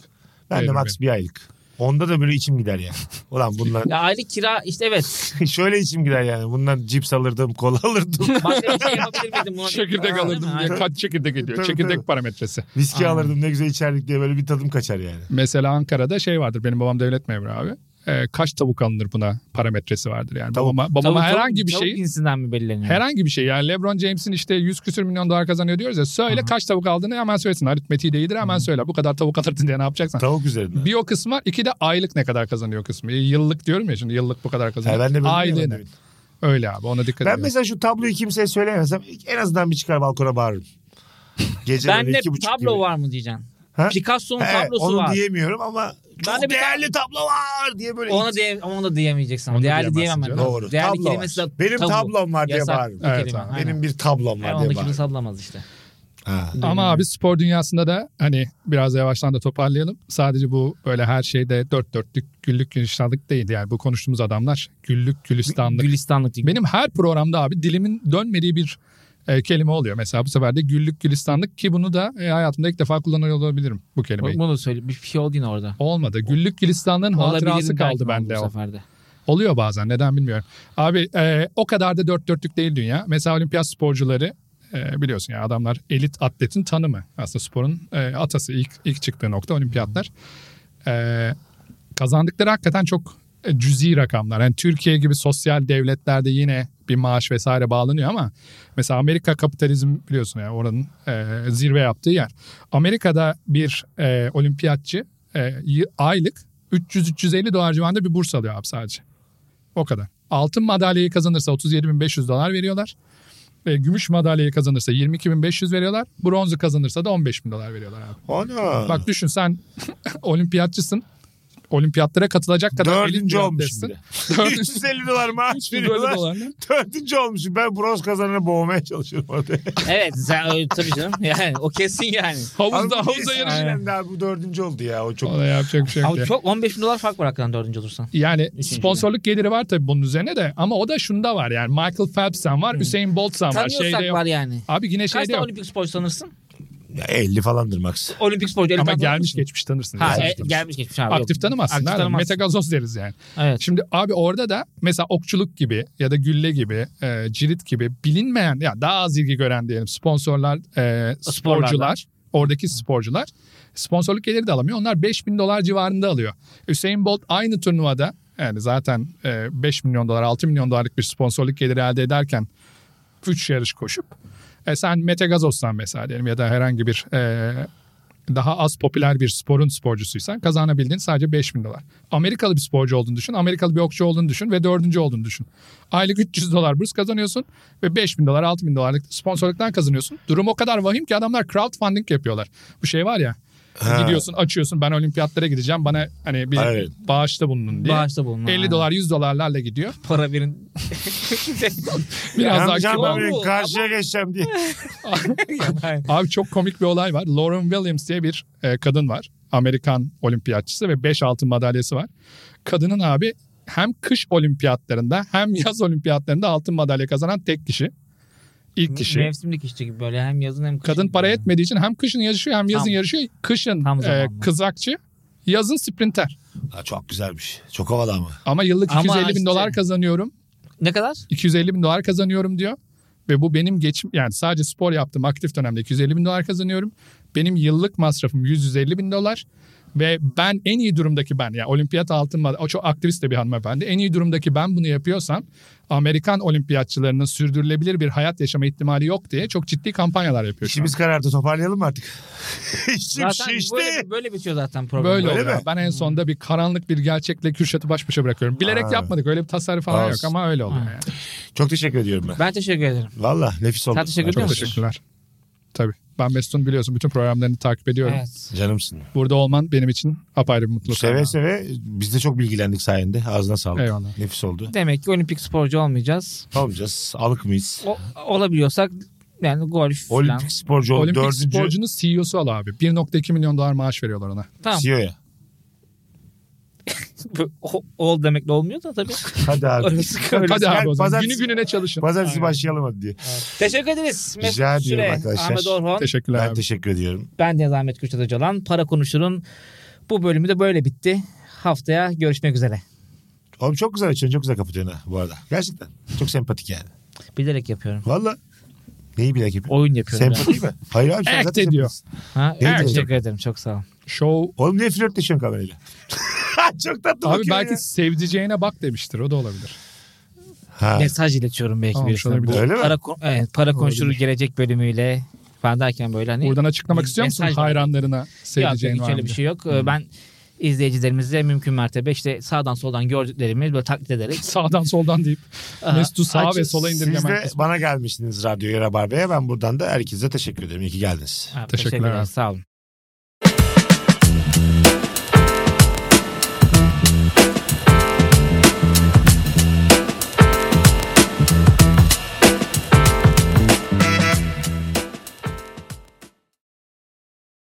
ben de
veririm
max bir aylık. Onda da böyle içim gider ya. Ulan bunlar
Ya aylık kira işte evet.
şöyle içim gider yani. Bundan cips alırdım, kola alırdım,
Başka bir şey yapabilir miydim buna?
Çekirdek
Değil mi?
alırdım diye
Aynen.
kaç çekirdek ediyor.
Tabii,
çekirdek
tabii.
parametresi.
viski
Aynen.
alırdım ne güzel içerdik diye böyle bir tadım kaçar yani.
Mesela Ankara'da şey vardır. Benim babam devlet memuru abi. Ee, kaç tavuk alınır buna parametresi vardır yani.
Tavuk.
Babama, babama
Tavuk- tavuk-
herhangi bir
tavuk
şey
cinsinden mi belirleniyor?
herhangi bir şey yani LeBron James'in işte 100 küsür milyon dolar kazanıyor diyoruz ya söyle kaç tavuk aldığını hemen söylesin. Aritmetiği de iyidir hemen söyle. Bu kadar tavuk alırdın diye ne yapacaksan.
Tavuk üzerinden.
Bir o kısım var. iki de aylık ne kadar kazanıyor kısmı. E, Yıllık diyorum ya şimdi yıllık bu kadar
Ha,
kazanıyor.
ben de böyle
Aylığını.
diyorum ben de.
Öyle abi ona dikkat
Ben
edin.
mesela şu tabloyu kimseye söyleyemezsem en azından bir çıkar balkona bağırırım. Gece
Ben
böyle
de
iki buçuk
tablo
gibi.
var mı diyeceksin.
Ha?
Picasso'nun
He,
tablosu
onu
var.
diyemiyorum ama çok
Ben de bir
değerli tablo var diye böyle.
Ona diye ama ona da diyemeyeceksin.
Onu da
Değerli diyemem
diyemezsin
ben.
canım.
Doğru.
Değerli
Tablo
kelimesi
var.
de
Benim
tabu.
tablom var diye
Yasak
bağırırım.
bir
Evet
kelime,
abi.
aynen.
Benim bir tablom
Aynen,
var
onu
diye
kimse
bağırırım.
sallamaz işte.
Ha.
Ama abi spor dünyasında da hani biraz yavaştan da toparlayalım. Sadece bu böyle her şeyde dört dörtlük güllük gülistanlık değil. Yani bu konuştuğumuz adamlar güllük gülistanlık.
Gülistanlık diye.
Benim her programda abi dilimin dönmediği bir e, kelime oluyor. Mesela bu sefer de güllük gülistanlık ki bunu da e, hayatımda ilk defa kullanıyor olabilirim bu kelimeyi.
Bunu söyle. Bir şey oldu yine orada.
Olmadı. Güllük gülistanlığın hatırası
Olabilirim
kaldı
belki
bende
bu
o.
seferde.
Oluyor bazen neden bilmiyorum. Abi e, o kadar da dört dörtlük değil dünya. Mesela olimpiyat sporcuları e, biliyorsun ya adamlar elit atletin tanımı. Aslında sporun e, atası ilk, ilk çıktığı nokta olimpiyatlar. E, kazandıkları hakikaten çok e, cüzi rakamlar. Yani Türkiye gibi sosyal devletlerde yine bir maaş vesaire bağlanıyor ama mesela Amerika kapitalizm biliyorsun yani oranın e, zirve yaptığı yer. Amerika'da bir e, olimpiyatçı e, y- aylık 300-350 dolar civarında bir burs alıyor abi sadece. O kadar. Altın madalyayı kazanırsa 37.500 dolar veriyorlar. E, gümüş madalyayı kazanırsa 22.500 veriyorlar. Bronzu kazanırsa da 15.000 dolar veriyorlar abi.
Ana.
Bak düşün sen olimpiyatçısın. Olimpiyatlara katılacak kadar elit
Dördüncü
bir
olmuşum
atletsin.
bile.
Dördüncü
350 dolar maaş
300 dolar
veriyorlar.
dolarla.
Dördüncü olmuşum. Ben bronz kazanını boğmaya çalışıyorum orada.
Evet sen öyle- tabii canım. Yani o kesin yani.
Havuzda
Ama
havuza yarış.
Aynen daha bu dördüncü oldu ya. O çok
O da yapacak bir şey yok.
Ama
ya.
çok 15 bin dolar fark var hakikaten dördüncü olursan.
Yani
Üçüncü.
sponsorluk geliri var tabii bunun üzerine de ama o da şunda var yani Michael Phelps'en var, Hüseyin Bolt'san var.
Tanıyorsak
Şeyde yok.
var yani.
Abi yine
Kaç
şeyde
tane
yok.
olimpik sporcu tanırsın?
Ya 50 falandır max.
Olimpik sporcu.
Ama
olimpiyat
gelmiş
tanırsın.
geçmiş tanırsın.
Ha
Yani.
e, gelmiş geçmiş abi.
Aktif
Yok.
tanımazsın.
Aktif
Aktif
tanımazsın.
Metagazoz deriz yani.
Evet.
Şimdi abi orada da mesela okçuluk gibi ya da gülle gibi, e, cirit gibi bilinmeyen ya daha az ilgi gören diyelim sponsorlar, e, sporcular, oradaki sporcular sponsorluk geliri de alamıyor. Onlar 5000 dolar civarında alıyor. Hüseyin Bolt aynı turnuvada yani zaten e, 5 milyon dolar, 6 milyon dolarlık bir sponsorluk geliri elde ederken 3 yarış koşup e, sen Metagazos'tan mesela diyelim ya da herhangi bir e, daha az popüler bir sporun sporcusuysan kazanabildiğin sadece 5000 dolar. Amerikalı bir sporcu olduğunu düşün, Amerikalı bir okçu olduğunu düşün ve dördüncü olduğunu düşün. Aylık 300 dolar burs kazanıyorsun ve 5000 dolar 6000 dolarlık sponsorluktan kazanıyorsun. Durum o kadar vahim ki adamlar crowdfunding yapıyorlar. Bu şey var ya gidiyorsun açıyorsun ben olimpiyatlara gideceğim bana hani bir
Evet.
bağışta bulunun diye.
Bağışta bulunun.
50
aynen.
dolar 100 dolarlarla gidiyor.
Para verin.
Biraz daha
Amcam
kilo-
Ama-
abi karşıya geçeceğim diye.
Abi çok komik bir olay var. Lauren Williams diye bir e, kadın var. Amerikan olimpiyatçısı ve 5 altın madalyası var. Kadının abi hem kış olimpiyatlarında hem yaz olimpiyatlarında altın madalya kazanan tek kişi. İlk kişi.
Mevsimlik işçi gibi böyle hem yazın hem kışın.
Kadın para
Yani.
etmediği için hem kışın yarışıyor hem yazın
Tam-
yarışıyor. Kışın
tam
e,
zamanlı.
kızakçı, yazın sprinter.
Ha, çok güzelmiş. Çok havalı ama.
Ama yıllık
Ama
250 bin
işte-
dolar kazanıyorum.
Ne kadar?
250 bin dolar kazanıyorum diyor. Ve bu benim geçim yani sadece spor yaptığım aktif dönemde 250 bin dolar kazanıyorum. Benim yıllık masrafım 150 bin dolar. Ve ben en iyi durumdaki ben yani olimpiyat altın madalya o çok aktivist de bir hanımefendi. En iyi durumdaki ben bunu yapıyorsam Amerikan olimpiyatçılarının sürdürülebilir bir hayat yaşama ihtimali yok diye çok ciddi kampanyalar yapıyor. şu an.
İşimiz karardı toparlayalım mı artık? İşim
Zaten
şişti.
böyle, böyle bitiyor zaten program.
Böyle
Öyle
oluyor.
mi?
Ben en sonunda bir karanlık bir gerçekle Kürşat'ı baş başa bırakıyorum. Bilerek
Aa.
yapmadık. Öyle bir tasarruf falan
Olsun.
yok ama öyle oluyor.
Ha.
Yani.
Çok teşekkür ediyorum ben.
Ben teşekkür ederim.
Valla nefis oldu.
Sen teşekkür
Çok
ediyor musun?
teşekkürler. Tabii. Ben Mesut'un biliyorsun bütün programlarını takip ediyorum.
Evet.
Canımsın.
Burada olman benim için apayrı bir mutluluk.
Seve seve biz de çok bilgilendik sayende. Ağzına sağlık.
Eyvallah.
Nefis oldu.
Demek ki olimpik sporcu olmayacağız.
Olmayacağız. Alık mıyız?
O, olabiliyorsak yani golf falan.
Olimpik sporcu ol.
Olimpik
Dördüncü
sporcunun CEO'su ol abi. 1.2 milyon dolar maaş veriyorlar ona.
Tamam.
CEO'ya.
Bu- o- Ol demekle olmuyor da tabii.
Hadi abi.
Orası öyle.
Hadi abi o zaman.
şey Pazartesi-
Günü gününe çalışın.
Pazartesi başlayalım hadi diye.
Teşekkür ederiz. Mesut
Rica ediyorum
Süre,
arkadaşlar.
Ahmet Orhon.
Teşekkürler
Ben
abi.
teşekkür ediyorum.
Ben Deniz Ahmet Kürşat Öcalan. Para Konuşur'un bu bölümü de böyle bitti. Haftaya görüşmek üzere.
Oğlum çok güzel açıyorsun. Çok güzel kapatıyorsun ha bu arada. Gerçekten. Çok sempatik yani.
Bilerek yapıyorum.
Valla. Neyi bilek yapıyorsun?
Oyun yapıyorum. yani.
Sempati mi? Hayır abi sen
Act
zaten
ediyor.
sempatiksin.
Ha,
Ne diyeceksin?
teşekkür ederim. Çok sağ ol.
Show.
Oğlum niye flörtleşiyorsun kamerayla? çok tatlı
Abi
bakıyor
belki
ya.
sevdiceğine bak demiştir. O da olabilir.
Ha.
Mesaj iletiyorum belki
Tamam,
birisine.
şöyle bir-
Bu
Öyle mi?
para, kon- evet, para konuşurur gelecek bölümüyle falan derken böyle hani.
Buradan açıklamak istiyor musun
Mesaj-
hayranlarına
Yok,
sevdiceğin
hiç
var mı
öyle bir
diye?
şey yok. Ee, Ben izleyicilerimize mümkün mertebe işte sağdan soldan gördüklerimi böyle taklit ederek.
Sağdan soldan deyip
Aha,
Mesut'u sağa
Açın.
ve sola
Siz
indirgemen.
de bana gelmiştiniz radyoya Rabarba'ya. Ben buradan da herkese teşekkür ederim. İyi ki geldiniz.
Ha,
Teşekkürler
teşekkürler.
abi.
Sağ olun.